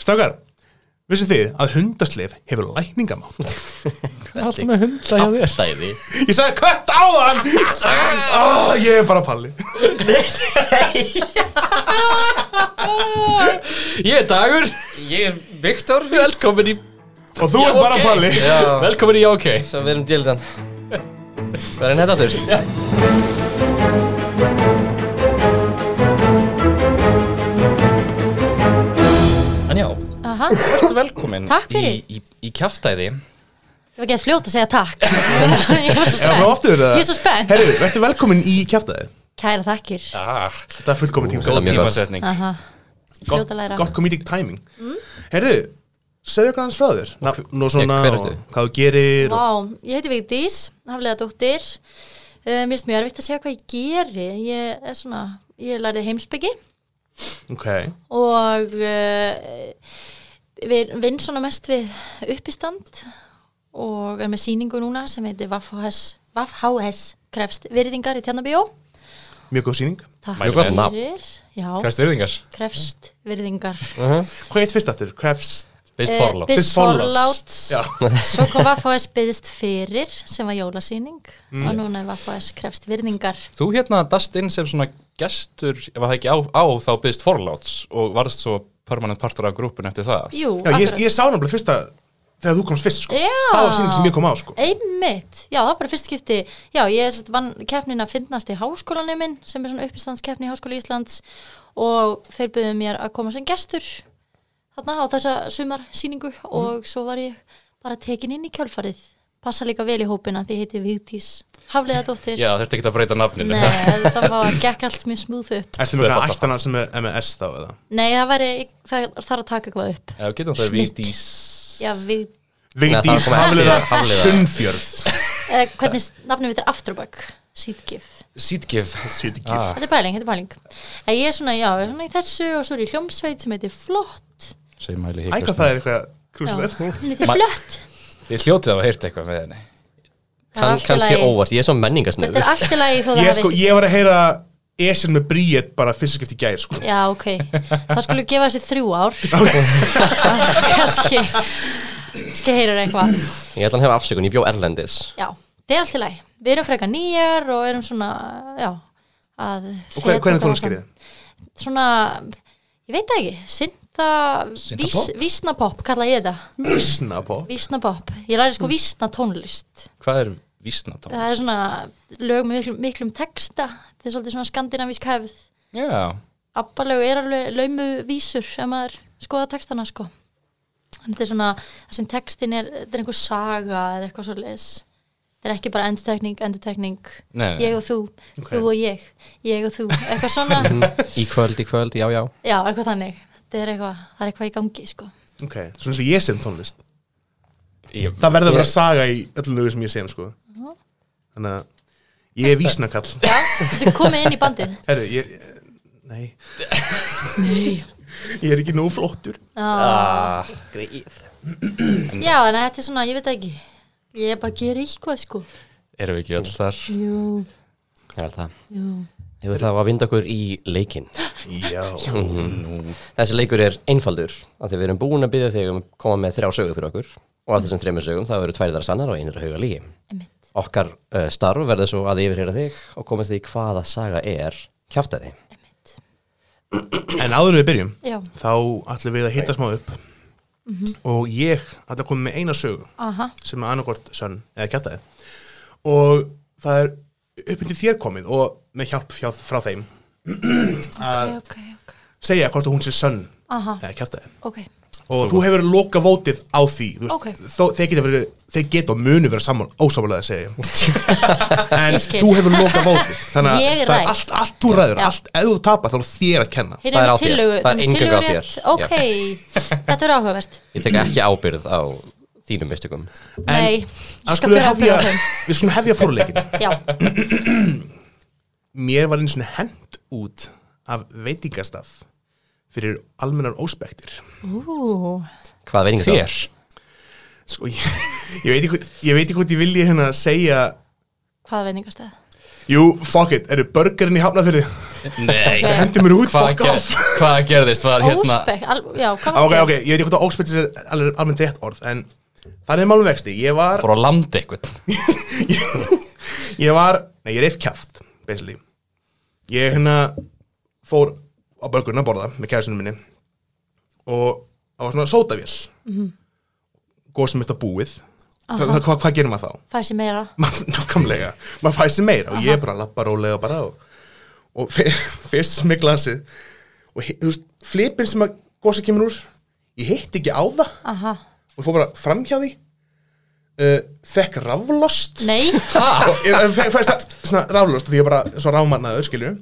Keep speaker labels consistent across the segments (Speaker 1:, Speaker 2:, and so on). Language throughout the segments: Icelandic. Speaker 1: Strákar, vissu þið að hundaslef hefur lækningamátt?
Speaker 2: Allt með hunda hjá þér
Speaker 3: Afstæði
Speaker 1: Ég sagði hvert á hann! Oh, ég er bara palli.
Speaker 2: Ég er Dagur,
Speaker 4: Ég er Viktor
Speaker 2: velkomin í
Speaker 1: Og þú ert bara
Speaker 2: ok.
Speaker 1: palli.
Speaker 4: Já
Speaker 2: Velkomin í OK
Speaker 4: Svo við erum dildan Hvað er henni þetta aftur?
Speaker 3: En já,
Speaker 5: Aha,
Speaker 3: verður velkomin
Speaker 5: Takk fyrir.
Speaker 3: Í, í, í kjaftæði
Speaker 5: ég var gett fljótt að segja takk Ég var svo
Speaker 1: Ég er bara
Speaker 5: spennt
Speaker 1: oftur það.
Speaker 5: Ég er svo spennt.
Speaker 1: Herru, verður velkomin í kjæftæði.
Speaker 5: Kæra þakkir
Speaker 3: ah,
Speaker 1: Þetta er fullkomin tíma.
Speaker 3: Góð
Speaker 4: mjög gott.
Speaker 3: tímasetning
Speaker 5: Aha,
Speaker 1: Gott,
Speaker 5: fljótt að læra Mm.
Speaker 1: gott comedic timing. Herru, segðu okkur hans frá þér. Nú svona,
Speaker 4: hver
Speaker 1: og
Speaker 4: ertu?
Speaker 1: hvað þú gerir. og-
Speaker 5: Vá, ég heiti Vigdís, haflega dóttir uh, Mér finnst mjög erfitt að segja hvað ég geri Ég er svona, ég lærði heimsbyggi
Speaker 1: Ok,
Speaker 5: og uh, við vinn svona mest við uppistand og er með sýningu núna sem heitir Vaff-HS Vaff-HS krefst virðingar í Tjarnabíó
Speaker 1: mjög góð síning.
Speaker 5: Takk
Speaker 3: Mæli með.
Speaker 5: fyrir
Speaker 2: Hvað
Speaker 5: Já,
Speaker 2: er styrðingar?
Speaker 5: krefst virðingar
Speaker 1: Hvað heit fyrst aftur? Krefst
Speaker 3: Bist
Speaker 5: Eh,
Speaker 3: forlá
Speaker 5: Bist
Speaker 1: Bist forláts.
Speaker 5: forláts.
Speaker 1: Já.
Speaker 5: Svo kom Vaff-HS byggðist fyrir sem var jólasýning
Speaker 1: Mm.
Speaker 5: og núna er Vaff-HS krefst virðingar
Speaker 3: Þú hérna dast inn sem svona gestur ef að það ekki á, á þá byggst forláts og varst svo permanent partur af grúpun eftir það
Speaker 5: Jú,
Speaker 1: Já, ég,
Speaker 5: akkurat.
Speaker 1: ég sá náttúrulega fyrsta þegar þú komst fyrst sko.
Speaker 5: Já.
Speaker 1: Það var síning sem ég kom á sko.
Speaker 5: Einmitt, já það var bara fyrst skipti Já, ég satt vann keppnin að finnast í háskólanum minn sem er svona uppistandskeppni í Háskóla Íslands og þeir byggðu mér að koma sem gestur þarna á þessa sumarsýningu
Speaker 1: Mm.
Speaker 5: og svo var ég bara tekin inn í kjálfarið passa líka vel í hópina því ég heiti Vigdís Hafliða dóttir
Speaker 3: Já, þurfti ekki að breyta nafninu
Speaker 5: Nei, þetta bara gekk allt mjög smúð upp
Speaker 1: Erstu með
Speaker 3: Tvöfaldan.
Speaker 1: eitthvað ættana sem er MS þá eða?
Speaker 5: Nei, það væri, það þarf að taka eitthvað upp
Speaker 3: Já, getum það
Speaker 5: Snitt.
Speaker 3: Vigdís
Speaker 5: Já, við,
Speaker 4: Nei, það
Speaker 1: Vigdís
Speaker 4: kom eftir,
Speaker 1: Hafliðar
Speaker 4: Hafliðar.
Speaker 1: Sunnfjörð
Speaker 5: eh, hvernig nafnum við þetta er Afturbak Sýtgif
Speaker 3: Sýtgif
Speaker 1: Sýtgif
Speaker 5: Þetta er pæling, þetta er pæling. En ég er svona, já, ég er svona í þessu og svo er ég í hljómsveit sem heitir Flott.
Speaker 3: Segjum hæli
Speaker 1: Ægvað það er eitthvað
Speaker 5: Já,
Speaker 1: krúslegt
Speaker 5: hún heitir
Speaker 3: Ma-
Speaker 5: Flött.
Speaker 3: Ég hljótið að hafa heyrt eitthvað með henni
Speaker 5: Það er
Speaker 4: Kann,
Speaker 5: allt í
Speaker 4: Kannski
Speaker 5: lagi.
Speaker 4: óvart, ég er svo
Speaker 5: Þetta
Speaker 4: menningarsnöður
Speaker 5: er allt í lagi þó það
Speaker 1: Ég
Speaker 5: hafi
Speaker 1: sko,
Speaker 5: ekki-
Speaker 1: ég var að heyra Esjan með Bríett bara fyrst skipt í gær sko
Speaker 5: Já, ok. Það skulle gefa þessu þrjú ár. Kanski, kannski heyrir eitthvað.
Speaker 4: Ég ætla að hefa afsökun, ég bjó Erlendis
Speaker 5: Já, þetta er allt í lagi. Við erum frekar nýjar og erum svona, já, að...
Speaker 1: Og hver, hvernig tónskriðið?
Speaker 5: Svona, ég veit það ekki, synda...
Speaker 3: Syntapopp?
Speaker 5: Vísnapopp kalla ég þetta.
Speaker 1: Vísna på
Speaker 5: Vísnapopp. Ég læri sko vísna tónlist.
Speaker 3: Hvað er vísnatón?
Speaker 5: það er svona lög með miklum, miklum texta þetta er svolítið svona skandinavísk hefð
Speaker 3: Já,
Speaker 5: abbalög er alveg laumu vísur ef maður skoða textana sko en þetta er svona, það sem textin er þetta er einhver saga eða eitthvað svo leis þetta er ekki bara endutekning, endutekning
Speaker 3: Nei, nei.
Speaker 5: ég og þú, þú og ég ég og þú, eitthvað svona
Speaker 4: Í kvöld, í kvöld, já, já
Speaker 5: já, eitthvað þannig, þetta er eitthvað það er eitthvað í gangi sko
Speaker 1: Ok, svona svo ég sem tónlist
Speaker 3: ég,
Speaker 1: Það verður að vera saga í öllu lögu sem ég sem sko Þannig að Ég er vísnakall
Speaker 5: já, þetta er komið inn í bandið
Speaker 1: Herru, ég Nei Ég er ekki nóg flottur
Speaker 5: ah, já, þannig að þetta er svona, ég veit það ekki ég er bara að gera eitthvað sko
Speaker 3: erum við ekki öll þar
Speaker 5: jú
Speaker 4: Það er það Hefur það að vinda okkur í leikinn
Speaker 1: Já
Speaker 4: Þessi leikur er einfaldur af því við erum búin að byggja þig um að koma með þrjá sögur fyrir okkur og af þessum þreymur sögum það verður tværðar sannar og einir að huga lígi
Speaker 5: Einmitt.
Speaker 4: Okkar uh, starf verður svo að yfirheyra þig og komast því hvaða saga er kjáftæði
Speaker 1: En áður en við byrjum
Speaker 5: Já, Mhm.
Speaker 1: þá ætlum við að hitta smá upp og ég ætla að koma með eina sögu
Speaker 5: aha,
Speaker 1: sem er annarkort sönn eða kjátaði og það er uppbyndið þér komið og með hjálp hjá, frá þeim
Speaker 5: ok, ok, ok
Speaker 1: segja hvort að hún sé sönn
Speaker 5: Aha,
Speaker 1: eða kjátaði
Speaker 5: ok,
Speaker 1: og þú hefur loka vótið á því þú veist,
Speaker 5: Ok.
Speaker 1: þó, þeir geta verið, þeir geta og munu vera saman ósámálega að segja en
Speaker 5: Ég skil.
Speaker 1: þú hefur loka vótið þannig að
Speaker 5: Ég
Speaker 1: það er
Speaker 5: ræð.
Speaker 1: allt, allt þú ræður
Speaker 5: Já.
Speaker 1: allt, ef þú tapar þá er þér að kenna
Speaker 5: Heyrðu,
Speaker 4: Það er
Speaker 5: með
Speaker 4: á þér.
Speaker 5: tillögu,
Speaker 4: Það er
Speaker 5: með
Speaker 4: eingöngu á
Speaker 5: tillögu
Speaker 4: þér.
Speaker 5: rétt. Ok, þetta verður áhugavert
Speaker 4: Ég tek ekki ábyrð á þínum mistökum
Speaker 5: Nei,
Speaker 1: Að
Speaker 5: ég skal
Speaker 1: skulum
Speaker 5: byrja að byrja á
Speaker 1: hefja-
Speaker 5: þeim
Speaker 1: við skulum hefja fórleikin
Speaker 5: Já,
Speaker 1: mér var einu svona hent út af veitingastað fyrir almennar óspektir
Speaker 5: ú,
Speaker 4: Hvað veiningar
Speaker 3: Þér?
Speaker 1: sko ég, ég veit ekki hvort- ég veit ekki hvort ég vilji hérna segja
Speaker 5: hvað veitingastæð
Speaker 1: jú, fuck it, eru börgarinn í hafnafyrði
Speaker 3: Nei
Speaker 1: Hendi mér út,
Speaker 3: Hvað
Speaker 1: fuck
Speaker 3: ger-
Speaker 1: off
Speaker 3: Hvað gerðist var hérna
Speaker 5: Óspek, al- já, hvað
Speaker 1: Ok,
Speaker 5: varstu?
Speaker 1: ok, ég veit ekki hvort að óspektis er alveg almennt rétt orð En þannig er málum vexti Ég var,
Speaker 3: Fór á landi eitthvað
Speaker 1: ég var Nei, ég reif kjaft, basically Ég hérna fór á börgurinn að borða með kærisinu minni Og það var svona sótavél mm Góð sem þetta búið Þa, það, hvað, hvað gerir maður þá?
Speaker 5: Það sé meira
Speaker 1: maður- nákvæmlega, maður fæði sér meira og ég bara lappa rólega bara og, og fe- fyrst með glasið og hi- þú veist, flipin sem að gósa kemur úr, ég hitt ekki á það
Speaker 5: Aha.
Speaker 1: og fór bara framhjá því uh, fekk raflost
Speaker 5: Nei,
Speaker 1: og ég fe- fæði svona- svona raflost því ég bara svo rámannaður, skilju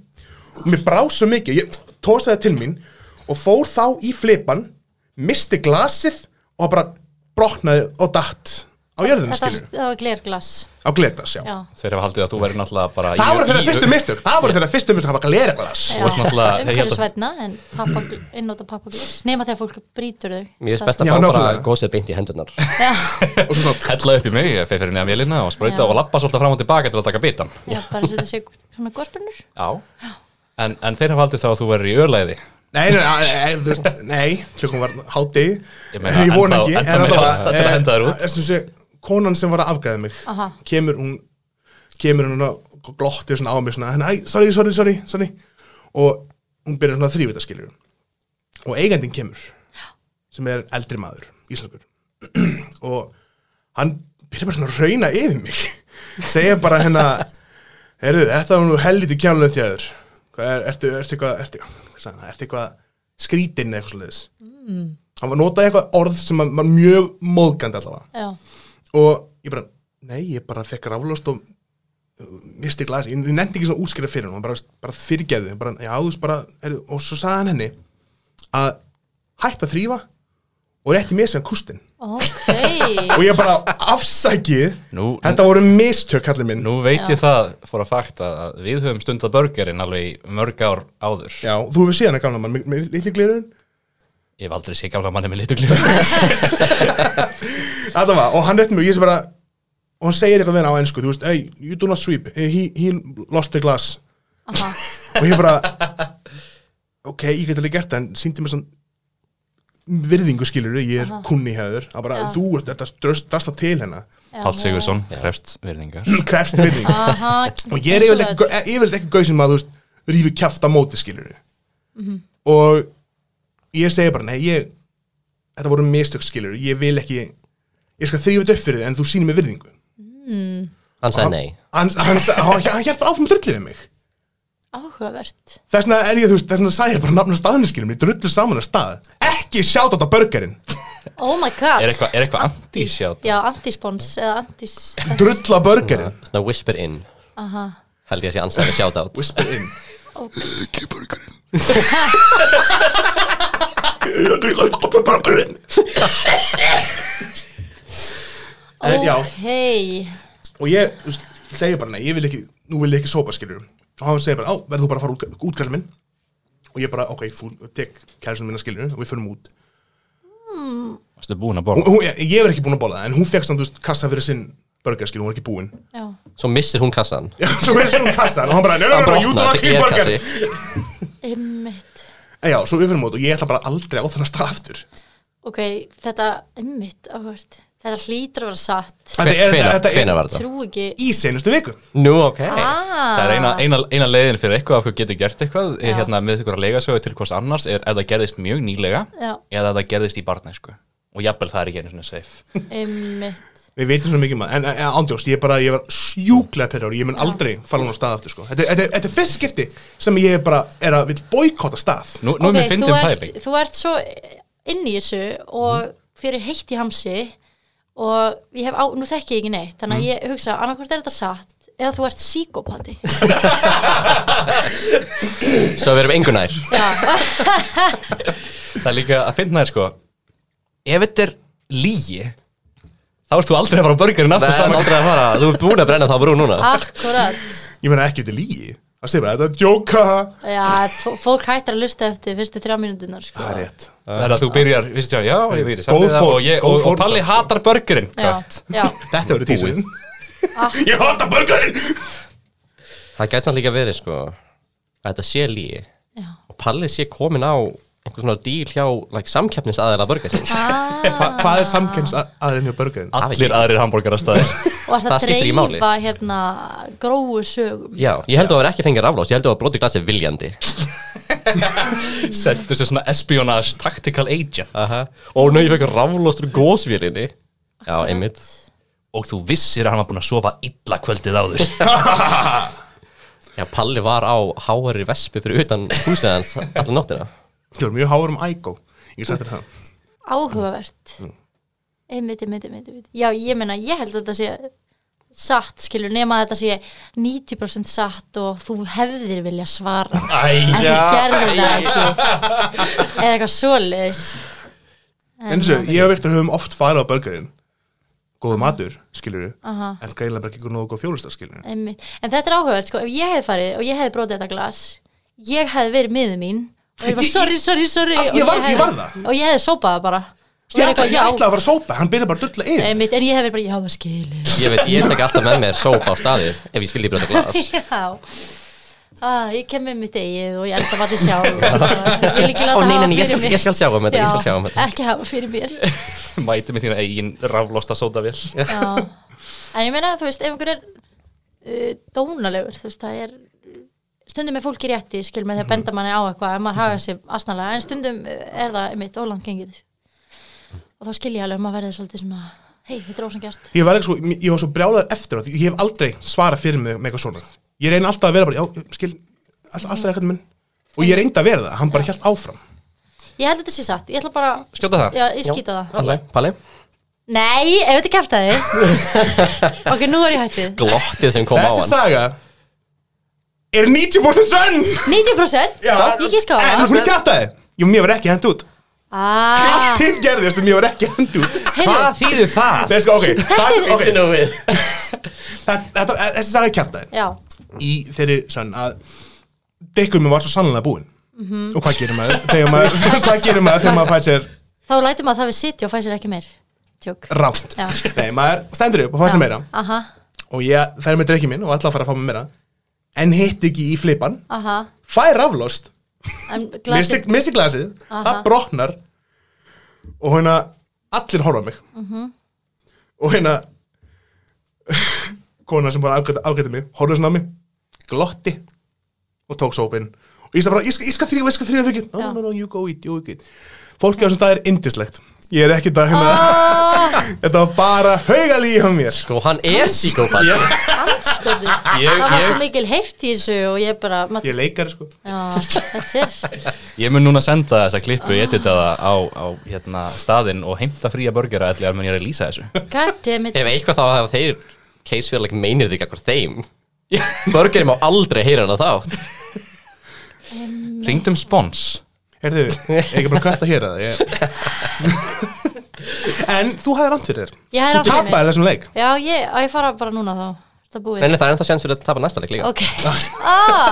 Speaker 1: og mér brá svo mikið, ég tósa það til mín og fór þá í flipan misti glasið og bara brotnaði og datt á jörðinu,
Speaker 5: þetta
Speaker 1: skilju,
Speaker 5: það var glerglas
Speaker 1: á glerglas, já.
Speaker 5: Já,
Speaker 3: Þeir hafa haldið að þú væri náttúrulega bara
Speaker 1: Það
Speaker 3: í-
Speaker 1: voru þeirra
Speaker 3: í-
Speaker 1: fyrstu mistök Það voru þeirra fyrstu mistök að hafa glera glas
Speaker 5: já.
Speaker 3: varst náttúrulega- ég held að-
Speaker 5: umhverfisvætna en pappa- innóta pappaglas nema þegar fólk brýtur þau
Speaker 4: Mér er spett að
Speaker 1: Já,
Speaker 4: fá bara
Speaker 1: nákvæmlega.
Speaker 4: gósið beint í hendurnar
Speaker 5: Já,
Speaker 1: Og svo svona
Speaker 3: Hella upp í mig, ég feið fyrir neða vélina og sprauta
Speaker 5: Já.
Speaker 3: og lappa svolítið fram og tilbaka til að taka bitan
Speaker 5: já, bara setja sig svona gósbrunnur
Speaker 3: Já En, en þeir hafa haldið þá að þú verður í örlæði
Speaker 1: Nei, nei, nei, nei, þú veist, nei Klukkum var hátti
Speaker 3: Ég meina,
Speaker 1: Ég vona
Speaker 3: ennþá-
Speaker 1: ekki
Speaker 3: ennþá
Speaker 1: en
Speaker 3: meira
Speaker 1: allavega,
Speaker 3: ástæða til að
Speaker 1: eh,
Speaker 3: henda þér út.
Speaker 1: þess að sé, Konan sem var að afgræða mig
Speaker 5: Aha.
Speaker 1: Kemur hún Kemur hún og glottir svona á mig svona Æ, sorry, sorry, sorry, sorry Og hún byrjar svona þrývita skiljur Og eigandinn kemur Sem er eldri maður, íslenskur Og hann byrjar bara svona að rauna yfir mig Segja bara hennar Heyrðu, þetta var nú helviti kjánlega þjáður. Hvað er, ertu, ertu eitthvað, ertu, hvað sagði hann, ertu eitthvað skrítinn eða eitthvað sliðis. Mm. Hann var notaði eitthvað orð sem var- var mjög móðgandi allavega.
Speaker 5: Já,
Speaker 1: Og ég bara, nei, ég bara fekk raflost og uh, misti glas. Ég, ég nefndi ekki svona útskýra fyrir hann, hann bara, bara fyrirgeðu. Bara, já, þú veist bara, heyrðu, og svo sagði hann henni að hætt að þrýfa og rétti mér sem kústinn.
Speaker 5: ok
Speaker 1: Og ég bara afsakið,
Speaker 3: Nú-
Speaker 1: þetta voru mistök, kallið minn.
Speaker 3: Nú veit ég það fór að fakta að við höfum stundað börgerinn alveg í mörg ár áður
Speaker 1: Já, þú hefur síðan að gamla mann með, með litli glirun.
Speaker 3: Ég hef aldrei sé gamla manni með litugljóð
Speaker 1: Þetta var, og hann rétti mig, ég sé bara og hann segir eitthvað við hann á ennsku, þú veist hey, you do not sweep, he, he lost the glass
Speaker 5: Aha.
Speaker 1: og ég bara ok, ég get alveg gert það en síndi mér svona virðingu skilur, ég er kunni hefur að bara, þú ert þetta dröst, drasta til hérna." hennar
Speaker 5: Já,
Speaker 3: Páll Sigursson, krefst virðingar
Speaker 1: krefst virðingu
Speaker 5: Aha,
Speaker 1: og ég er yfirleitt ekki, gau- eh, yfirleitt ekki gauð sem að þú veist, rífi kjaft á móti skilur og ég segi bara, nei, ég þetta voru mistök skilur, ég vil ekki ég skal þrýfa þetta upp fyrir þig en þú sýnir mér virðingu
Speaker 4: Hann sagði nei
Speaker 1: hann, hann, hann, hann hjálpar áfram að drullið við mig
Speaker 5: Áhugavert
Speaker 1: þess vegna er ég, þú veist, þess vegna sagði ég bara nafna staðinu skilum, ég drullu saman að stað ekki sjátt á þetta börgarinn
Speaker 5: Oh my god
Speaker 3: Er eitthvað er eitthvað anti-sjátt?
Speaker 5: Já, antispons eða antis
Speaker 1: drulla börgarinn
Speaker 4: Svona whisper in
Speaker 5: Aha,
Speaker 4: Held ég að sé ansæði shoutout
Speaker 1: whisper in ekki börgarinn börgarinn en, já,
Speaker 5: ok
Speaker 1: og ég þú veist, segi bara nei, ég vil ekki, nú vil ég ekki sópa skilur og hann segir bara, á, verður þú bara að fara út, út kærsum minn og ég bara, ok, fú, tek kærsum minna skilur og við förum út
Speaker 3: Varstu búin
Speaker 1: hún,
Speaker 3: að
Speaker 5: Uh.
Speaker 3: borða?
Speaker 1: hún, ég ég var ekki búin að bóla það, en hún fekk samt þú veist, kassa fyrir sinn burger, skilur, hún var ekki búin
Speaker 5: Já,
Speaker 4: Svo missir hún kassan
Speaker 1: Já, svo verður svona kassa, og hann bara, njá, njá,
Speaker 4: Hann
Speaker 1: njá, jú, þú
Speaker 4: brotnar,
Speaker 1: var
Speaker 4: þetta
Speaker 1: ekki
Speaker 4: er
Speaker 1: burger
Speaker 4: kassi
Speaker 5: ymmit
Speaker 1: En já, svo við fyrir mót og ég ætla bara aldrei á þennan stað aftur
Speaker 5: Ok, þetta, ymmit, áhugavert Þetta hlýtur að vera satt
Speaker 1: Þetta er,
Speaker 4: Hvenær-
Speaker 1: þetta
Speaker 4: hvenær
Speaker 1: er
Speaker 4: var þetta?
Speaker 5: Trú ekki
Speaker 1: í senustu viku
Speaker 4: Nú, ok
Speaker 5: ah,
Speaker 3: Það er eina, eina, eina leiðin fyrir eitthvað af hvað getur gert eitthvað er hérna með ykkur að legasögu til hvers annars er ef það gerðist mjög nýlega
Speaker 5: Já.
Speaker 3: eða ef það gerðist í barnæsku og jafnvel það er ekki einu svona safe
Speaker 5: Ymmit
Speaker 1: Við veitum svo mikið maður, en, en ándjóst, ég bara, ég var sjúklega perraður, ég mun aldrei fara hún á stað aftur, sko. Þetta, þetta, þetta er fyrst skipti sem ég bara er að vil boykotta stað.
Speaker 3: Nú, nú okay, mér
Speaker 5: þú,
Speaker 1: um
Speaker 3: fyndum
Speaker 5: ert,
Speaker 3: pæling
Speaker 5: þú ert svo inn í þessu og þér er heitt í hamsi og ég hef á, nú þekki ég ekki neitt þannig
Speaker 1: Mm.
Speaker 5: að ég hugsa, annarkvort er þetta satt eða þú ert síkopati
Speaker 4: Svo við erum engu nær
Speaker 5: Já,
Speaker 3: Það er líka að fyndna þér sko Ef þetta er lígi þá ert þú aldrei að fara á börgarinn
Speaker 4: Það
Speaker 3: aftur
Speaker 4: er
Speaker 3: saman
Speaker 4: aldrei að fara Þú ert búin að brenna þá brú núna
Speaker 5: Ah. akkurat
Speaker 1: Ég meina ekki út í lígi. Það segir bara, þetta er djóka.
Speaker 5: Já, fó- fólk hættar að lusta eftir fyrstu þrjá mínútunar sko.
Speaker 1: Það er rétt.
Speaker 3: Það er að þú byrjar, vissi já, já, ég veit
Speaker 1: Góð
Speaker 3: það
Speaker 1: fórn-
Speaker 3: og, ég,
Speaker 1: góð
Speaker 3: og, og
Speaker 1: fórn-
Speaker 3: Palli hatar börgarinn
Speaker 5: Já, já,
Speaker 1: Þetta verður tísun. ég hata burgerinn!
Speaker 4: Það gæti hann líka verið sko að þetta sé líi
Speaker 5: Já.
Speaker 4: og Palli sé komin á einhver svona díl hjá like, samkeppnis aðeila börgarsins
Speaker 1: Hva, hvað er samkennst aðrinn hjá burgerinn?
Speaker 3: Allir aðrir hambúrgarastæðir
Speaker 5: og er það
Speaker 4: Það
Speaker 5: að
Speaker 4: skiptir ekki máli.
Speaker 5: dreifa hérna gróu sögum
Speaker 4: Já, ég held að það var ekki fengið raflós, ég held að það var brotið glasið viljandi
Speaker 3: Settu sér svona espionage tactical agent
Speaker 4: Aha. Og nú ég fekk raflóst úr gósvílinni Já, einmitt
Speaker 3: Og þú vissir að hann var búin að sofa illa kvöldið áður
Speaker 4: Já, Palli var á háari vespu fyrir utan húsið hans alla nóttina
Speaker 1: Þú er mjög háður um ægó Ég sættir það
Speaker 5: áhugavert
Speaker 1: Mm.
Speaker 5: einmitt, einmitt, einmitt, einmitt já, ég meina, ég held að þetta sé satt, skilur, nema að þetta sé 90% satt og þú hefðir vilja svara en þú gerðir það ekki eða eitthvað svoleiðis
Speaker 1: En þessu, ég og Viktor höfum oft farið á burgerinn Góða matur, skilur við
Speaker 5: Aha.
Speaker 1: En greinlega bara ekki góð nógu góð þjónusta, skilur við
Speaker 5: Einmitt. En þetta er áhugavert, sko, ef ég hefði farið og ég hefði brotið þetta glas, ég hefði verið miður mín og ég var
Speaker 1: Ég-
Speaker 5: sorry, sorry, sorry
Speaker 1: Ah, Ég-
Speaker 5: og
Speaker 1: ég var-
Speaker 5: hefði-
Speaker 1: ég var það.
Speaker 5: Og ég hefði sópað það bara Og
Speaker 1: Ég
Speaker 5: verið
Speaker 1: ætla,
Speaker 5: eitthvað,
Speaker 1: ég
Speaker 5: já,
Speaker 1: ætla að fara að sópa, hann byrja bara að dulla yfir
Speaker 5: einmitt, en ég hefði verið bara, já, það skilur
Speaker 4: Ég veit, ég tek alltaf með mér sópa á staði ef ég skildi brjóta glas
Speaker 5: Já ah, Ég kem með mitt eigið og ég elda að vatni sjá Ég vil
Speaker 4: Ó
Speaker 5: ekki
Speaker 4: nei,
Speaker 5: láta hafa
Speaker 4: nei, nei, ég
Speaker 5: fyrir
Speaker 4: skal,
Speaker 5: mér
Speaker 4: ég skal sjá um þetta, ég skal sjá um þetta
Speaker 5: Já, ekki hafa fyrir mér
Speaker 3: Mæti með þína eigin raflosta sótavél
Speaker 5: Já. En ég meina, þú veist, ef einhver er uh, dónalegur, þú veist, það er stundum er fólki rétti, skil með því að benda manni á eitthvað ef maður haga sér asnalega, en stundum uh, er það einmitt ólangt gengið og þá skil ég alveg að maður verði svolítið svona hei, þetta er ósangjart
Speaker 1: Ég var, ekki svo, ég var svo brjálaður eftir á því Ég hef aldrei svarað fyrir mig með eitthvað svona Ég reyni alltaf að vera bara, já, skil all, Alltaf er ekkert minn Og ég reyndi að vera það, hann bara hjælt áfram
Speaker 5: Ég held þetta sé satt, ég ætla bara
Speaker 3: Skjóta það?
Speaker 5: Já, ég skýta það
Speaker 4: Palli, Palli
Speaker 5: Nei, ef þetta kæft að þið Ok, nú er ég hættið
Speaker 4: Glottið sem kom á
Speaker 1: Þessi
Speaker 4: hann
Speaker 1: saga er 90% sönn
Speaker 5: 90% ég gíska á
Speaker 1: En Þú
Speaker 5: það
Speaker 1: veist mér kæft að þið Jú, mér var ekki hend út
Speaker 5: Ah,
Speaker 1: Allt hinn gerðist en mér var ekki hend út
Speaker 5: heyrðu,
Speaker 3: þýðir það?
Speaker 1: Nei, sko, ok, það er sem, ok,
Speaker 4: Nú við
Speaker 1: það- þetta- þessi saga er kæft að
Speaker 5: já,
Speaker 1: þið Í þeirri sönn að Drikkur mér var svo sannlega búinn Og hvað gerir maður? Þegar maður, hvað gerir maður þegar maður fæ sér
Speaker 5: þá lætur maður það við sitja og fæ sér ekki meir Tjók
Speaker 1: rámt
Speaker 5: Já.
Speaker 1: Nei, maður stendur upp og fæ sér meira
Speaker 5: Aha,
Speaker 1: Og ég fer með drikkið minn og ætla að fara að fá mér meira En hitt ekki í flipan
Speaker 5: aha
Speaker 1: Fær raflost
Speaker 5: En
Speaker 1: missi,
Speaker 5: glasið
Speaker 1: missi glasið, það brotnar og hérna allir horfa á mig
Speaker 5: Mhm.
Speaker 1: og hérna kona sem bara ágætti, ágætti mig horfði svona á mig, glotti og tók sópinn og ég sagði bara, ég skal, ég skal þrýfa, ég skal þrýfa fyrir no,
Speaker 5: Já.
Speaker 1: no, no, no, you go eat, you go eat fólki á þessum stað er indislegt ég er ekkert að hérna,
Speaker 5: Ah.
Speaker 1: þetta var bara haugalí hjá mér
Speaker 4: Sko, hann er síkópall
Speaker 5: Andskoti
Speaker 3: Ég-
Speaker 5: Sko, Það var
Speaker 3: ég-
Speaker 5: svo mikil heift í þessu og ég bara mat,
Speaker 1: ég er leikari sko
Speaker 5: Já, þetta er
Speaker 3: Ég mun núna senda þessa klippu, ég edita það á, á hérna, staðinn og heimta fría burgera allir að mun ég er að lýsa þessu
Speaker 5: Goddammit
Speaker 4: Ef eitthvað þá hafa þeir case fyrir like, meinir þig akkur þeim Börgerinn má aldrei heyra hann á þátt
Speaker 3: Ringdum um spons
Speaker 1: Heyrðu, ég er bara að kvæta hér að það ég... En þú hafði rand fyrir þér
Speaker 5: Ég hafði rangt
Speaker 1: Þú
Speaker 5: fyrir mér.
Speaker 1: tapaði þessum leik
Speaker 5: Já, ég, á, ég fara bara núna þá Það búið
Speaker 4: Nei, nei, það er ennþá sjans fyrir að tapa næsta leik líka
Speaker 5: Ok ah.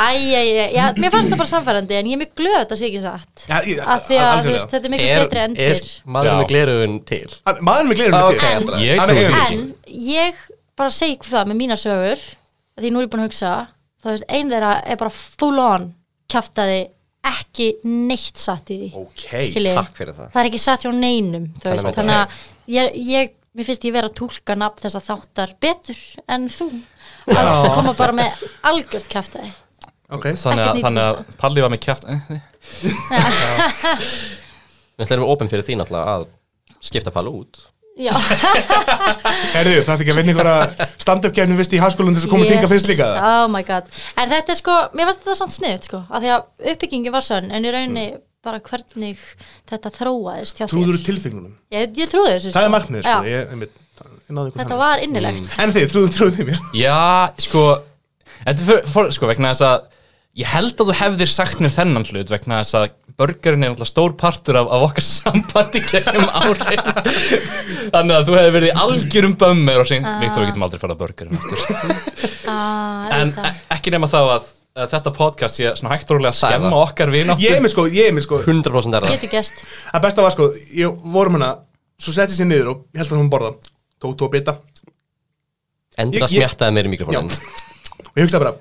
Speaker 5: Æ, æ, æ, já, mér fannst það bara samfærandi En ég er mjög glöð að þetta sé ekki satt
Speaker 1: Já, ég-
Speaker 5: Af því að þú
Speaker 1: algjörlega.
Speaker 5: veist, þetta er mikil
Speaker 4: Er,
Speaker 5: betri
Speaker 4: er
Speaker 5: endir
Speaker 4: maður
Speaker 3: Já.
Speaker 4: með gleruðun til?
Speaker 1: Hann- Maðurinn með glerum
Speaker 4: Ok,
Speaker 1: til
Speaker 4: allt í lagi.
Speaker 3: Ég
Speaker 1: Hann
Speaker 3: trúi
Speaker 1: er
Speaker 3: því
Speaker 1: eigin-
Speaker 3: ekki
Speaker 5: En ég bara segi ykkur það með mína sögur af Því nú er ég búin að hugsa Þá veist, ein þeirra er bara full on Kjaftaði ekki neitt satt í því
Speaker 1: Ok,
Speaker 5: Skiljiði?
Speaker 4: takk fyrir það.
Speaker 5: Það er ekki satt hjá neinum þú veist,
Speaker 4: Þannig að-
Speaker 5: Þannig að ég, ég Mér finnst ég vera að túlka nafn þess að þáttar betur en þú að koma bara með algjört kæftæði
Speaker 1: ok
Speaker 3: Þannig að,
Speaker 5: Ekkert
Speaker 3: þannig að Palli var með Eh, kjæft
Speaker 4: Við ætlum opinn fyrir því náttúrulega að skipta Palli út
Speaker 5: Já,
Speaker 1: Heyrðu, það er ekki að vinna einhverja stand-up kefnum vist í háskólan til þess að komast yngar fyrst líka
Speaker 5: Jesus,
Speaker 1: það
Speaker 5: Oh my god En þetta er sko, mér finnst þetta samt sniðut sko af því að uppbyggingin var sönn en í rauninni
Speaker 1: Mm.
Speaker 5: bara hvernig þetta þróaðist hjá
Speaker 1: Trúður
Speaker 5: þér
Speaker 1: tilfingunum
Speaker 5: Ég, ég trúði þessu
Speaker 1: Það er markmið, sko
Speaker 5: Já.
Speaker 1: Ég, einmitt, það- ég náði ykkur
Speaker 5: Þetta
Speaker 1: þannig. Mm.
Speaker 5: var innilegt
Speaker 1: En þið, trúðu, trúðu þið mér
Speaker 3: Já, sko Þetta er fyrir, for, sko, vegna þess að Ég held að þú hefðir sagt mér þennan hlut vegna þess að burgerinn er náttúrulega stór partur af, af okkar sambandi gegnum árin Þannig að þú hefði verið í algjörum bömmir og sín Viktor, við getum aldrei farað að burgerinn aftur
Speaker 5: ah,
Speaker 3: En
Speaker 5: auðvitað.
Speaker 3: e- ekki nema þá að, að þetta podcast sé svona hægt og rólega að
Speaker 4: Það er
Speaker 3: skemma
Speaker 4: það.
Speaker 3: okkar vináttu
Speaker 1: Ég er mér sko, ég er mér sko
Speaker 4: 100% er það
Speaker 5: getur gæst
Speaker 1: Það besta var sko, ég vorum hana Svo setti sér niður og ég held að hún borða Tók tók bita
Speaker 4: Endur að
Speaker 1: Ég- ég-
Speaker 4: smjattaði mér í
Speaker 1: Já.
Speaker 4: mikrofónin
Speaker 1: Og ég hugsaði bara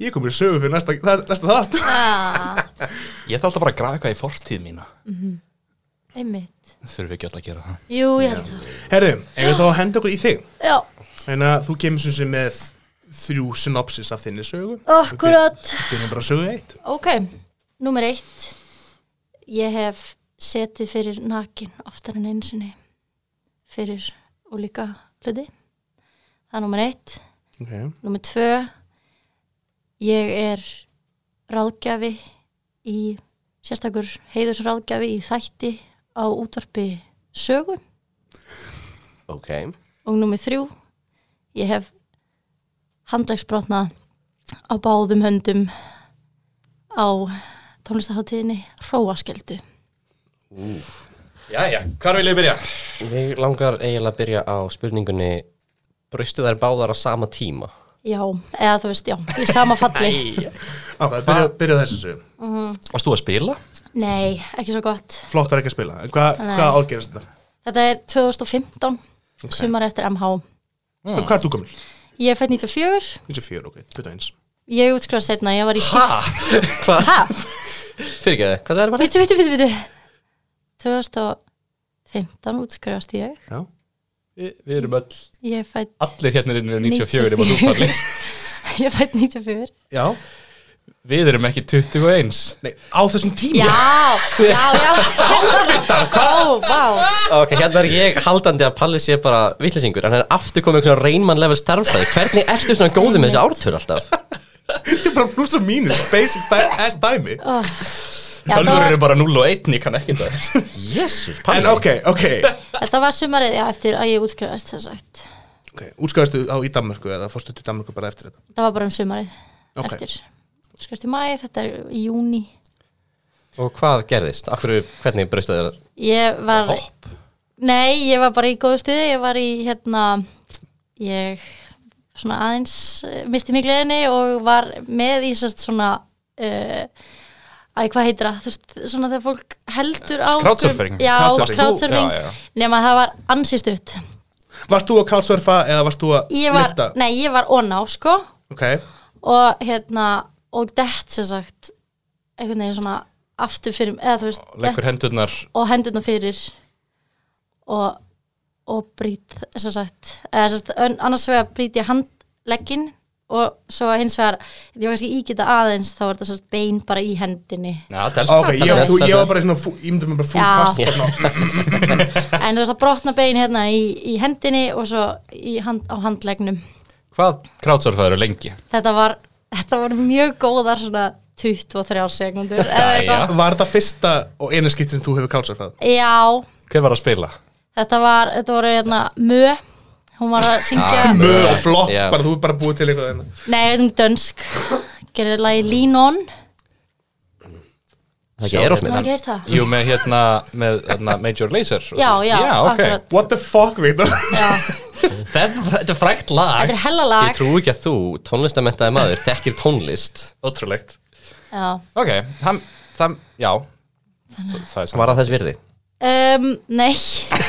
Speaker 1: Ég komur í sögu fyrir næsta, það- næsta þátt
Speaker 5: Ah,
Speaker 3: Ég ætla alltaf bara að grafa eitthvað í fortíð mína
Speaker 5: einmitt.
Speaker 3: Þurfum við ekki alltaf að gera það
Speaker 5: Jú, ég held það.
Speaker 1: Herðu, eigum við þá að henda okkur í þig
Speaker 5: Já,
Speaker 1: Þannig að þú kemur sem sem með þrjú synopsis af þinni sögu
Speaker 5: akkurat.
Speaker 1: Við byrjum bara á sögu eitt
Speaker 5: Ok, númer eitt. Ég hef setið fyrir nakin oftar en einu sinni fyrir ólíka hluti. Það er númer eitt.
Speaker 1: okay.
Speaker 5: Númer tvö, ég er ráðgjafi í, sérstakur heiðusráðgjafi í þætti á útvarpi sögu.
Speaker 4: Ok,
Speaker 5: Og númer þrjú, ég hef handlagsbrotnað á báðum höndum á tónlistaháttíðinni Róaskjöldu.
Speaker 3: Jæja, hvar vil ég byrja?
Speaker 4: ég langar eiginlega að byrja á spurningunni Brustu þær báðar á sama tíma?
Speaker 5: Já, eða þú veist, já, í sama falli.
Speaker 1: Á, byrja, byrja á þessu sögu
Speaker 3: Varst þú að spila?
Speaker 5: Nei, ekki svo gott.
Speaker 1: Flott er ekki að spila En Hvað
Speaker 5: Nei.
Speaker 1: hva árgerist þetta?
Speaker 5: Þetta er 2015, sumar eftir MH.
Speaker 1: Mm. Hvað er þú komil?
Speaker 5: Ég er fætt 94,
Speaker 1: 94, ok, 21
Speaker 5: ég útskráð setna, ég var í skip.
Speaker 3: Hvað?
Speaker 5: Hæ?
Speaker 4: Fyrir ekki það, hvað það er bara?
Speaker 5: Vittu, vittu, vittu, vittu. 2015 útskrifast ég.
Speaker 1: Já,
Speaker 3: Við, við erum öll,
Speaker 5: Ég er fætt
Speaker 3: allir hérna inni eru 94 nema þú, Palli.
Speaker 5: ég er fætt 94.
Speaker 1: já.
Speaker 3: Við erum ekki 21
Speaker 1: Nei, á þessum tíma
Speaker 5: Já, já, já. Hálfvittar, hvað? Ó, vá.
Speaker 4: Ok, hérna er ég haldandi að Palli sé bara vittlisingur Hann er aftur komið einhvern reynmann level starfstæði Hvernig ertu svona góði með þessi ártöl alltaf?
Speaker 1: Þetta er bara pluss og mínus Basic di- ass dæmi
Speaker 5: Já, það
Speaker 3: Tölvur
Speaker 5: var,
Speaker 3: eru bara 0 og 1, ég kann ekki það
Speaker 4: Jésús,
Speaker 1: En
Speaker 4: Palli
Speaker 1: ok, ok
Speaker 5: þetta var sumarið, já, eftir að ég útskrifast þess sagt.
Speaker 1: Ok, útskæðastu á í Danmörku eða fórstu til Danmörku bara eftir þetta
Speaker 5: Það var bara um sumarið
Speaker 1: Ok.
Speaker 5: eftir. Útskrifast í mæði, þetta er í júni.
Speaker 4: Og hvað gerðist? Akkur, hvernig brustu þær?
Speaker 5: Ég var...
Speaker 3: Hopp.
Speaker 5: Nei, ég var bara í góðu stuði, ég var í hérna, ég svona aðeins eh, misti mig gleðinni og var með í sérst svona, uh, æ, hvað heitir það, þú veist, svona þegar fólk heldur á...
Speaker 3: Crowdsurfing.
Speaker 5: Já,
Speaker 1: Crowdsurfing.
Speaker 5: crowdsurfing,
Speaker 3: Já, já.
Speaker 5: nema það var ansist upp.
Speaker 1: Varst þú að kálsverfa eða varst þú að
Speaker 5: Ég var,
Speaker 1: lyfta?
Speaker 5: nei, ég var oná, sko,
Speaker 1: Ok,
Speaker 5: og hérna, og dett sér sagt, einhvern veginn svona aftur fyrir, eða þú veist, dett
Speaker 3: Leggur hendurnar
Speaker 5: og hendurna fyrir og, og brýt sem sagt, eða, sem sagt ön- annars vegar brýt ég handleggin og svo hins vegar, ég var kannski ígita aðeins þá var þetta sem sagt bein bara í hendinni
Speaker 3: Já, telst
Speaker 1: Ah, ok,
Speaker 3: það
Speaker 1: ég,
Speaker 4: er-
Speaker 1: þú,
Speaker 4: þetta
Speaker 1: ég
Speaker 4: er-
Speaker 1: var bara svona, fú- ég myndi mér bara full
Speaker 5: Já.
Speaker 1: kast þarna.
Speaker 5: en þú veist að brotna bein hérna í, í hendinni og svo í hand, á handleggnum
Speaker 3: Hvað krátsörfaður eru lengi?
Speaker 5: þetta var, þetta var mjög góðar svona 23 sekundur
Speaker 3: Jæja.
Speaker 1: Var þetta fyrsta og eina skipt sem þú hefur kálsverfað?
Speaker 5: já,
Speaker 3: Hver var að spila?
Speaker 5: þetta var þetta voru hérna mö hún var
Speaker 3: Ah,
Speaker 5: að syngja
Speaker 1: Mjög flott,
Speaker 4: Já.
Speaker 1: bara þú er bara búið til eitthvað hérna. þeirna
Speaker 5: Nei, um dönsk Gerði lagi Línon
Speaker 4: Það ekki er
Speaker 5: Má
Speaker 4: ósmið
Speaker 5: ekki heyrt það?
Speaker 3: Jú, með hérna, með hérna Major Lazer og-
Speaker 5: Já, já,
Speaker 3: já ok
Speaker 5: akkurat
Speaker 1: What the fuck, Viktor?
Speaker 5: já.
Speaker 3: þetta, þetta er frækt lag
Speaker 5: Þetta er hella
Speaker 4: Ég
Speaker 5: lag
Speaker 4: trú ekki að þú, tónlistamentaði maður, þekkir tónlist
Speaker 3: Ótrúlegt
Speaker 5: já.
Speaker 3: Ok, það, það, já Þa- Það er saman
Speaker 4: Var það þess virði?
Speaker 5: um, Nei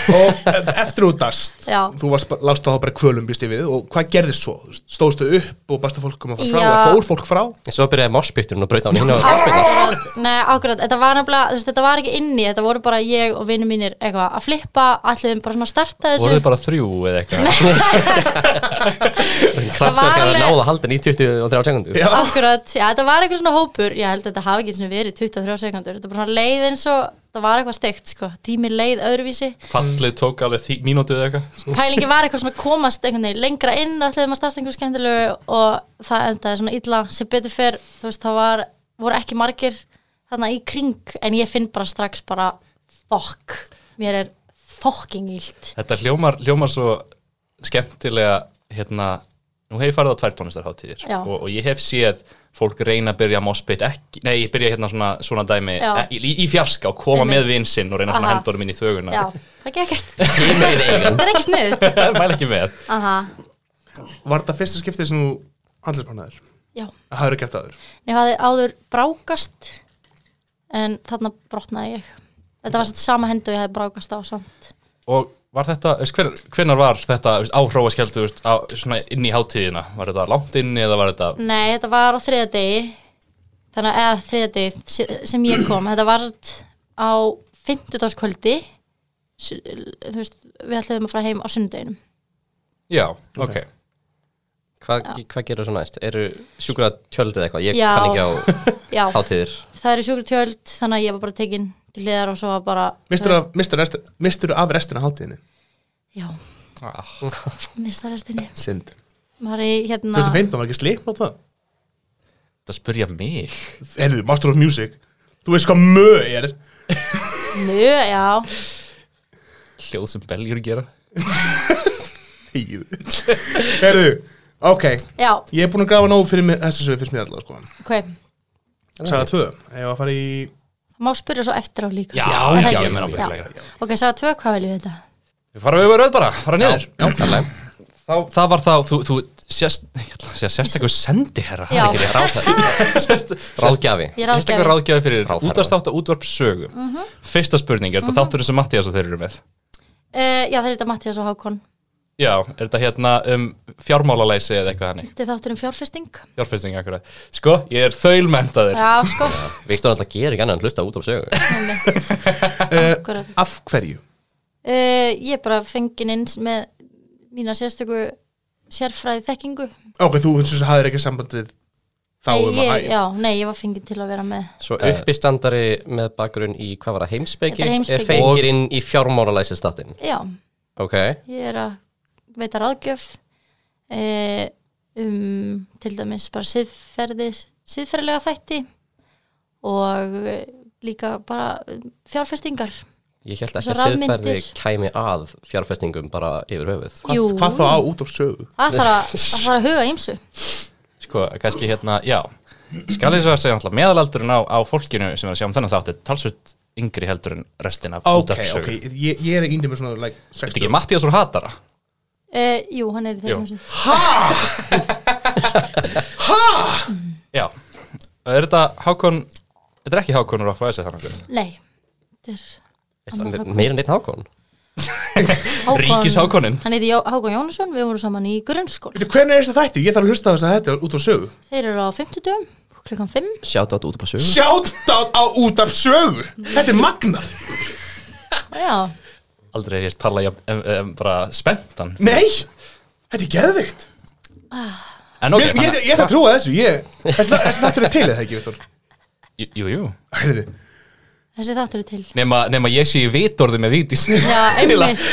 Speaker 1: og e- eftir þú dast
Speaker 5: Já.
Speaker 1: þú varst, bara- lást það þá bara kvölum býst ég við og hvað gerðist svo? Þú veist, Stóðstu upp og basta fólk koma frá
Speaker 5: Já.
Speaker 1: eða fór fólk frá?
Speaker 4: Svo byrjaði morspýtturinn og braut á hann hinn og
Speaker 5: Akkurat, nei, akkurat, þetta var nefnilega þú veist, Þetta var ekki inni, þetta voru bara ég og vinnum mínir eitthvað að flippa, allir bara svona að starta þessu
Speaker 3: Voruð þið bara þrjú eða eitthvað?
Speaker 4: kraftið okkar að
Speaker 5: alveg-
Speaker 4: náða að halda hann í 23 sekundur
Speaker 1: Já.
Speaker 5: Akkurat, já, þetta var eitthvað svona hópur Ég held að þetta hafi ekki svona verið 23 sekundur Þetta var bara svona leið eins og þetta var eitthvað steikt sko. Tími leið öðruvísi
Speaker 3: Fallið tók alveg því, mínútið eða eitthvað
Speaker 5: pælingi var eitthvað svona komast einhvern veginn lengra inn ætliðum að starta einhverju skemmtilegu og það endaði svona illa sem betur fyrr, þú veist, það var, voru ekki margir þarna í kring en ég finn bara strax bara fokk, mér er fokking illt
Speaker 3: Þetta hljómar, hljómar svo skemmtilega hérna, nú hef ég farið á tvær tónlistarháttíðir
Speaker 5: Já.
Speaker 3: og, og ég hef séð fólk reyna að byrja mospit ekki, nei, ég byrja hérna svona, svona dæmi
Speaker 5: Já.
Speaker 3: e, í, í fjarska og koma
Speaker 5: Einmitt.
Speaker 3: með vinsinn og reyna svona
Speaker 5: Aha.
Speaker 3: hendurum inn í þöguna
Speaker 5: Já, það gekk ekki Það er ekki sniðut
Speaker 3: mæla ekki með
Speaker 5: Aha,
Speaker 1: Var þetta fyrsta skiptið sem þú handlismannaðir?
Speaker 5: já
Speaker 1: Það hefur gert aður
Speaker 5: Ég hafði áður brákast en þarna brotnaði ég Þetta var satt sama hendu ég hafði brákast á samt
Speaker 3: og var þetta, veist, hver, hvenær var þetta veist, á hróaskjöldu, veist, á, svona inn í hátíðina var þetta langt inni eða var þetta
Speaker 5: Nei, þetta var á þriða degi þannig að eða þriða degi se- sem ég kom, þetta var satt á fimmtudagskvöldi su- þú veist, við ætlaðum að fara heim á sunnudeginum.
Speaker 3: já, ok,
Speaker 4: Hvað hva gerir svo næst? Eru sjúkla tjöldið eitthvað? Ég
Speaker 5: Já.
Speaker 4: kann ekki á
Speaker 5: Já,
Speaker 4: hátíðir
Speaker 5: það er í sjúkratjöld þannig að ég var bara tekin til liðar og svo var bara
Speaker 1: Mistur af, mistur rest, mistur af restina hátíðinni
Speaker 5: Já,
Speaker 3: Ah,
Speaker 5: mista restinni
Speaker 1: Sind
Speaker 5: Maður er í hérna
Speaker 1: 2015 var ekki sleip á það
Speaker 3: þetta spyrja mig
Speaker 1: Erðu, Master of Music Þú veist hvað mö er
Speaker 5: Nö, já
Speaker 3: hljóð sem beljur gera
Speaker 1: Erðu, ok
Speaker 5: Já,
Speaker 1: Ég er búin að grafa nóg fyrir mig, þessi sögur fyrst mér allavega sko
Speaker 5: ok, það
Speaker 1: Saga 2, ef að fara í
Speaker 5: má spyrja svo eftir á líka
Speaker 3: Já,
Speaker 5: Er það
Speaker 3: já,
Speaker 5: ekki?
Speaker 3: ég meina bara-
Speaker 5: Ok, sagði tvö, hvað viljum við þetta?
Speaker 3: við farum við rauð bara, fara niður já, Þá, það var þá, þú, þú sérst, ég ætla að segja sérstakur sendi herra,
Speaker 5: Já.
Speaker 3: það er ekki
Speaker 4: Ráðgjafi
Speaker 3: ráðgjafi
Speaker 5: Ég er Mhm.
Speaker 3: sérstakur
Speaker 5: ágæði
Speaker 3: ráðgjafi fyrir
Speaker 4: Ráðherra.
Speaker 3: útvarstátt og útvarpsögu fyrsta spurning,
Speaker 5: Mhm.
Speaker 3: er þetta þátturinn sem Mattias og þeir eru með
Speaker 5: uh, Já, það er þetta Mattias og Hákon
Speaker 3: já, er þetta hérna um fjármálalæsi eða eitthvað hannig
Speaker 5: Þetta er þáttur um fjárfesting
Speaker 3: fjárfesting akkurat sko, ég er þaulmentaður
Speaker 5: Já, sko
Speaker 4: Viktor alltaf gerir ekki annan en hlusta út á sögu
Speaker 5: akkurat.
Speaker 1: Eh, Af hverju?
Speaker 5: uh, Ég er bara fengin inn með mína sérstöku sérfræði þekkingu
Speaker 1: Ok, þú finnst þess að hafðir ekki samband við þá um að
Speaker 5: ég,
Speaker 1: hæg
Speaker 5: Já, nei, ég var fengin til að vera með
Speaker 4: Svo uppistandari með bakgrunn í hvað var það heimspeki
Speaker 5: Þetta er heimspeki.
Speaker 4: Er fengir inn í fjármáralæsistattin
Speaker 5: Já,
Speaker 4: Ok,
Speaker 5: ég er að veita ráðgjöf uh, um til dæmis bara siðferði siðferðilega þætti og eh, líka bara eh, fjárfestingar
Speaker 4: ég held ekki
Speaker 5: Svo
Speaker 4: að siðferði
Speaker 5: rafmyndir.
Speaker 4: kæmi að fjárfestingum bara yfir höfuð
Speaker 5: Jú,
Speaker 1: Hvað þá á út af sögu?
Speaker 5: það þarf að, það þarf að huga ímsu
Speaker 3: sko, kannski hérna, já skal ég svo að segja alltaf meðalaldurinn á, á fólkinu sem er að sjá um þennan þátt er talsvöld yngri heldur en restin af
Speaker 1: Ok,
Speaker 3: útvarpssögu.
Speaker 1: ok, ég, ég er índi með svona like, 60.
Speaker 3: Er þetta ekki Mattias úr hatara
Speaker 5: Uh, jú, hann er í
Speaker 3: Jú.
Speaker 5: þeirra þessu.
Speaker 3: já, er þetta Hákon þetta er ekki Hákon úr FHS eða þannig
Speaker 5: Nei, þetta er Annar Hákon.
Speaker 4: Meir en einn hákon
Speaker 5: Hákon.
Speaker 3: Ríkis Hákonin
Speaker 5: Hann heiti Jó- Hákon Jónsson, við vorum saman í grunnskóla.
Speaker 1: Veitu, Hvernig er þess að þætti? Ég þarf að hlusta á þess að þetta út af sögu
Speaker 5: Þeir eru á 50 dögum, klukkan 5.
Speaker 4: Sjátt átt út á sögu
Speaker 1: Shoutout á út af sögu Þetta er magnað
Speaker 5: Já,
Speaker 3: aldrei hef ég tala um, um, um, bara spenntan
Speaker 1: Nei, þetta er geðvikt
Speaker 3: en ok,
Speaker 1: Mér- Ég, ég, ég ætla að trúa þessu, ég Þessi þessi þáttur er til eða ekki, Viktor
Speaker 3: ég, jú, jú
Speaker 1: Heyrðu,
Speaker 5: þessi þáttur er til.
Speaker 3: nema, nema ég sé í vitorði með vítis
Speaker 5: Já, einmitt.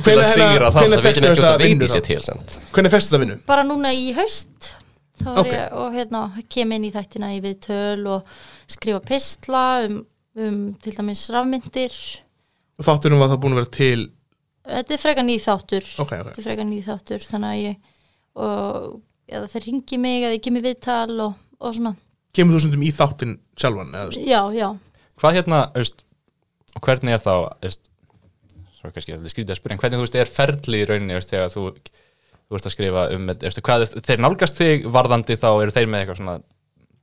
Speaker 3: til að
Speaker 1: Hvenær- hérna-
Speaker 3: sigra það
Speaker 1: hvenær
Speaker 4: Það veitum
Speaker 1: fékkstu
Speaker 4: ekki
Speaker 1: þessa
Speaker 4: út að
Speaker 1: vinnu
Speaker 4: veiti
Speaker 1: þá?
Speaker 4: sér til sent.
Speaker 1: Hvernig fyrst þetta vinnu?
Speaker 5: Bara núna í haust, þá er
Speaker 1: Ok.
Speaker 5: ég og hérna, kem inn í þættina í viðtöl og skrifa pistla um, um til dæmis rafmyndir.
Speaker 1: Þátturum var það búin að vera til
Speaker 5: Þetta er frekar nýð þáttur.
Speaker 1: Ok, ok.
Speaker 5: Þetta er frekar nýð þáttur, þannig að ég, og, eða þeir ringi mig, eða ég kemur viðtal og, og svona.
Speaker 1: Kemur þú stundum í þáttin sjálfan? Eða, þú veist?
Speaker 5: Já, já.
Speaker 3: hvað hérna, veist og hvernig er þá, veist svo kannski að það skrítið að spyrja, en hvernig þú veist er ferli í rauninni, veist, þegar þú þú ert að skrifa um, veist, hvað er, þeir nálgast þig varðandi, þá eru þeir með eitthvað svona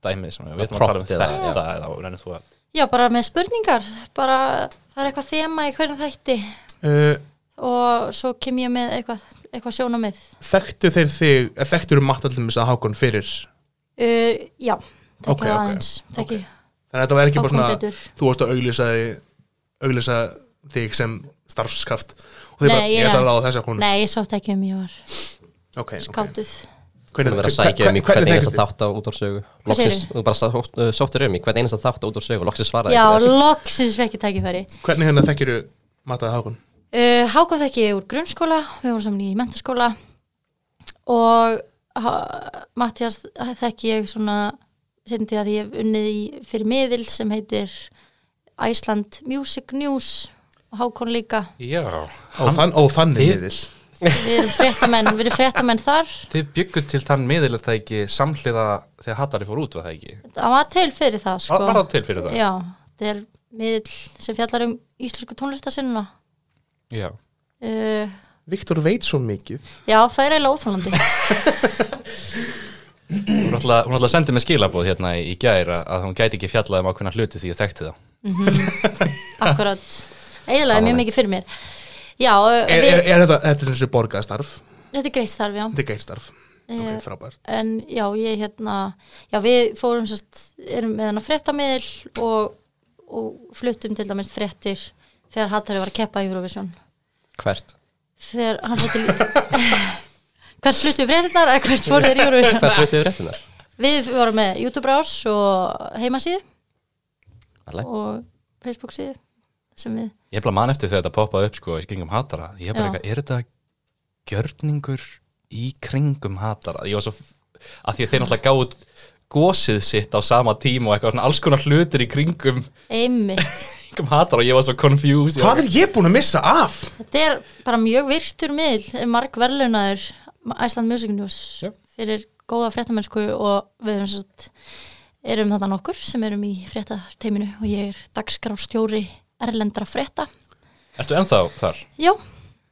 Speaker 3: dæmið, svona, við erum að tala um
Speaker 4: Prompt eða-
Speaker 3: þetta eða reynir þú að,
Speaker 5: Já, bara með spurningar, bara það er eitthvað þema í hverjum þætti
Speaker 1: Uh,
Speaker 5: og svo kem ég með eitthvað, eitthvað sjónamið.
Speaker 1: Þekktu þeir þig, eða þekktur um matallum þess að Hákon fyrir
Speaker 5: Uh, já,
Speaker 1: Ok,
Speaker 5: þekki okay,
Speaker 1: ok,
Speaker 5: aðeins, þekki
Speaker 1: Þannig að þetta var ekki bara
Speaker 5: Hákon
Speaker 1: svona
Speaker 5: betur.
Speaker 1: Þú varst að auglýsa, þig- auglýsa þig sem starfskraft og þeir
Speaker 5: Nei,
Speaker 1: bara,
Speaker 5: ég
Speaker 1: ég ætla að
Speaker 5: er-
Speaker 1: ráða þess að hún
Speaker 5: Nei, sko. ég sótt ekki um ég var
Speaker 1: okay, okay.
Speaker 5: skátuð.
Speaker 4: Þú verður að sækja um í hvern einasta þátt á út á sögu Loksis,
Speaker 5: segirðu?
Speaker 4: þú bara sá- uh, sóttir um í hvern einasta þátt á út á sögu Loksis svaraði
Speaker 5: Já,
Speaker 4: ekki þér.
Speaker 5: loksins fekk ég tækifæri.
Speaker 1: Hvernig hérna þekkiru mataði Hákon?
Speaker 5: Uh, Háka þekki ég úr grunnskóla, við vorum saman í mentaskóla og ha- Mattias þekki ég svona sindi að ég hef unnið í fyrir miðil sem heitir Iceland Music News og Hákon líka.
Speaker 3: já,
Speaker 1: Ó, þann, ó þannig
Speaker 3: þið-
Speaker 1: miðil
Speaker 5: Við erum fréttamenn, við erum fréttamenn þar
Speaker 3: þið byggur til þann miðil að það ekki samhliða þegar hatari fór út, var það ekki
Speaker 5: Það var til fyrir það sko.
Speaker 3: var, var það til fyrir það?
Speaker 5: Já, það er miðill sem fjallar um íslensku tónlistarsinnuna
Speaker 3: Já.
Speaker 5: uh,
Speaker 1: Viktor veit svo mikið
Speaker 5: Já, það er eiginlega óþólandi
Speaker 3: Hún ætla, hún ætla að senda mig skilaboð hérna í, í gær að, að hún gæti ekki fjallað um ákveðna hluti því ég þekkti þá.
Speaker 5: Akkurat, eiginlega mjög mikið fyrir mér já, og
Speaker 1: Er,
Speaker 5: við,
Speaker 1: er, er þetta, þetta er eins og borgaðstarf,
Speaker 5: þetta er greitt starf, já
Speaker 1: þetta er geirstarf. Ok,
Speaker 5: Eh,
Speaker 1: frábært.
Speaker 5: en já, ég hérna já, við fórum sérst, erum með hennar fréttamiðil og, og fluttum til dæmis fréttir þegar Hattari var að keppa í Eurovision
Speaker 4: Hvert?
Speaker 5: þegar hann fór til hvert fluttum fréttirnar eða hvert fór þeir í Eurovision
Speaker 4: Hvert fluttið þið réttinar?
Speaker 5: við vorum með YouTube rás og heimasíðu
Speaker 4: Alla.
Speaker 5: og Facebook síðu sem við
Speaker 3: Ég er bara mann eftir þegar þetta poppaði upp sko í kringum hatara. Ég er bara
Speaker 5: Já.
Speaker 3: eitthvað, er þetta gjörningur í kringum hatara? Ég var svo, að því að þeir náttúrulega gáðu gósið sitt á sama tíma og eitthvað svona alls konar hlutir í kringum,
Speaker 5: einmitt,
Speaker 3: kringum hatara og ég var svo confused. Ég var-
Speaker 1: Hvað er ég búin að missa af?
Speaker 5: þetta er bara mjög virtur miðl, marg verðlunaður Iceland Music News
Speaker 3: Já.
Speaker 5: fyrir góða fréttamennsku og við erum, satt, erum þetta nokkur sem erum í fréttateiminu og ég er dagskránstjóri erlendra frétta
Speaker 3: Ertu ennþá þar?
Speaker 5: já,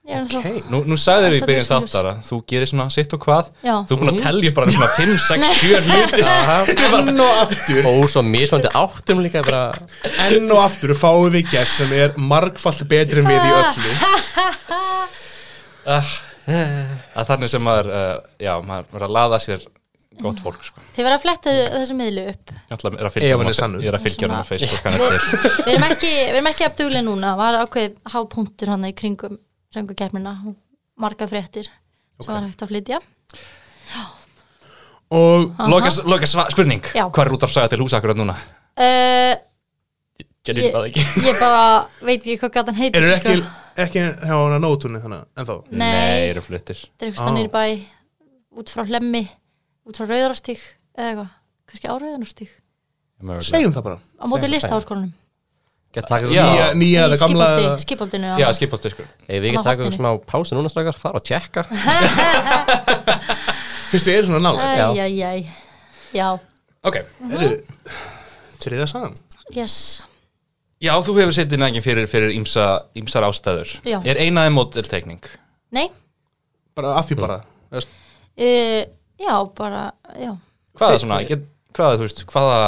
Speaker 5: ég er okay.
Speaker 1: Hey,
Speaker 3: Nú, nú sagðir við í
Speaker 5: Ætlaði
Speaker 3: byrjun
Speaker 5: svona-
Speaker 3: þáttara, þú gerir svona sitt og hvað,
Speaker 5: um Já.
Speaker 3: þú er búin
Speaker 1: Mhm.
Speaker 3: að telja bara svona 5, 6, 7 hluti
Speaker 1: enn og aftur,
Speaker 4: Ó, svo mismöndi áttum líka bara
Speaker 1: enn og aftur fáum við gæst sem er margfalt betri en við í öllu.
Speaker 3: að þannig sem maður, uh, já, maður verður að laða sér gott fólk, sko.
Speaker 5: þið verða að fletta þessu miðlu upp
Speaker 3: Ég ætla er að fylgja
Speaker 1: Ef hann
Speaker 3: honum
Speaker 1: er sannur.
Speaker 3: á- ég er að fylgja hann á
Speaker 5: Svona-
Speaker 3: Facebook, hann er til.
Speaker 5: við erum ekki, við erum ekki afduglega núna var ákveðið hápunktur hann í kringum söngukermina, marga fréttir sem var hægt að flytja
Speaker 1: Og
Speaker 3: Loka, loka sva, spurning,
Speaker 5: Já.
Speaker 3: hvað er út af saga til húsa akkurat núna?
Speaker 5: uh,
Speaker 3: Gerir
Speaker 5: Ég-
Speaker 3: það ekki.
Speaker 5: ég bara veit ekki hvað gatan heitir
Speaker 1: eru ekki,
Speaker 5: sko.
Speaker 1: ekki hjá hana nótunni þannig, ennþá?
Speaker 3: Nei,
Speaker 5: nei,
Speaker 3: eru fluttir.
Speaker 5: þetta
Speaker 1: Á.
Speaker 5: er eitthvað nýr bæ út frá hlemmi, út frá rauðarastík eða eitthvað, kannski á rauðarastík
Speaker 3: Mögulega.
Speaker 1: Segjum það bara.
Speaker 5: á móti listaháskólanum
Speaker 4: Gæt taka ykkur
Speaker 3: Já.
Speaker 4: smá
Speaker 1: Nýja, nýja
Speaker 5: Í
Speaker 1: eða gamla...
Speaker 5: Skipholti- skipholdinu
Speaker 3: Já,
Speaker 5: já.
Speaker 3: skipoltur, sko.
Speaker 4: Ef við ekki
Speaker 5: Svona
Speaker 4: taka ykkur
Speaker 5: hotninu.
Speaker 4: smá pásu núna strákar, fara og tjekka
Speaker 1: Fyrst við erum svona nálega.
Speaker 5: Æ, já, já, já,
Speaker 3: Ok,
Speaker 1: Þriða sagan.
Speaker 5: yes
Speaker 3: já, þú hefur setið nægin fyrir, fyrir ýmsa, ýmsar ástæður.
Speaker 5: Já.
Speaker 3: Er einaði mótelteikning?
Speaker 5: nei,
Speaker 1: Bara að því bara. Þú veist,
Speaker 5: uh, já, bara já,
Speaker 3: Hvaða svona, get, hvaða, þú veist, hvaða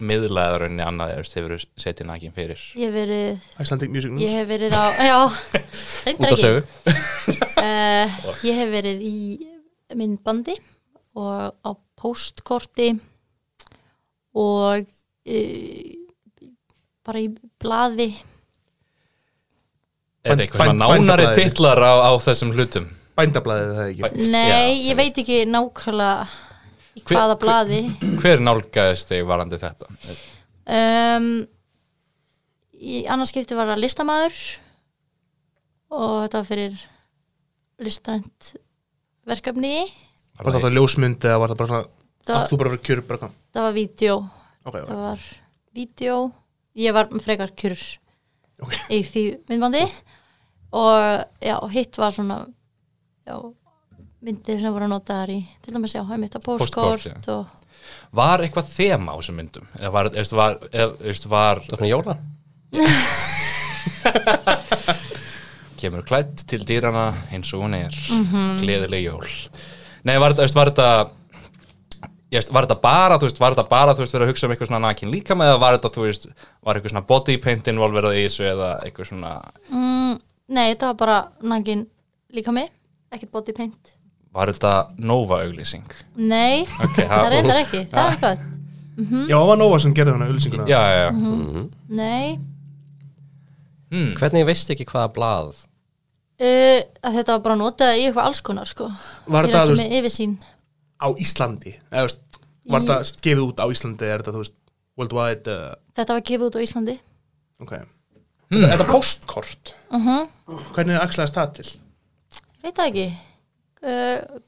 Speaker 3: miðlaðar rauninni annað, þú veist, hefur setið nægin fyrir?
Speaker 5: ég hef verið
Speaker 1: Icelandic Music News.
Speaker 5: ég hef verið á, já reyndar
Speaker 4: út á
Speaker 5: ekki
Speaker 4: sögu
Speaker 5: Eh, ég hef verið í myndbandi og á postkorti og uh, bara í blaði
Speaker 3: Er
Speaker 1: Bænd-
Speaker 3: eitthvað svona
Speaker 1: bænd-
Speaker 3: nánari
Speaker 1: bændablaðið.
Speaker 3: titlar á, á þessum hlutum?
Speaker 1: Bændablaðið það ekki.
Speaker 3: Bæ-
Speaker 5: nei, ég veit ekki nákvæmlega í
Speaker 3: Hver-
Speaker 5: hvaða
Speaker 3: hver-
Speaker 5: blaði
Speaker 3: Hver nálgæðist þig varandi þetta?
Speaker 5: um, í annars skipti var það listamaður og þetta var fyrir listrænt verkefni
Speaker 1: Var það þá ljósmynd eða var það bara svona...
Speaker 4: Ah,
Speaker 5: það,
Speaker 1: Átt þú bara að vera kjör bara kom.
Speaker 5: það var vídeo
Speaker 1: Ok, ok.
Speaker 5: það var vídeo ég var frekar kjur
Speaker 1: Ok.
Speaker 5: í því myndbandi og já, hitt var svona já, myndir sem voru notaðar í til dæmis já, heimitt að
Speaker 3: Póstkort,
Speaker 5: postkort
Speaker 3: já.
Speaker 5: og
Speaker 3: Var eitthvað þema á þessum myndum? Eða var, eða, var, eða, eða, var
Speaker 4: Það er svona jóla
Speaker 3: kemur klætt til dýrana eins og hún er gleðileg jól Nei, var þetta, þú veist, var þetta ég veist, var þetta bara, þú veist, var þetta bara þú veist, verið að hugsa um eitthvað svona nakin líka með eða var þetta, þú veist, var eitthvað svona body paint involverað í þessu eða eitthvað svona
Speaker 5: mm, nei, þetta var bara nangin líka mig, ekkert body paint
Speaker 3: var þetta Nova auglýsing
Speaker 5: nei,
Speaker 3: Ok,
Speaker 5: það
Speaker 3: það
Speaker 5: reyndar ekki það var eitthvað,
Speaker 1: Já, það var Nóa sem gerði hana auðlýsinguna.
Speaker 3: Já, já, já,
Speaker 5: nei
Speaker 4: Hvernig veist ekki hvaða blað
Speaker 5: uh, að þetta var bara notað í eitthvað alls konar sko,
Speaker 1: Var
Speaker 5: ég er
Speaker 1: þetta, þú
Speaker 5: ekki
Speaker 1: veist,
Speaker 5: með yfirsýn
Speaker 1: á Íslandi? Eða, þú veist, var þetta gefið út á Íslandi? Er þetta, þú veist, worldwide? Uh,
Speaker 5: þetta var gefið út á Íslandi
Speaker 1: ok. Þetta, þetta postkort.
Speaker 5: uh
Speaker 1: Hvernig axlaðist það til?
Speaker 5: ég veit það ekki uh,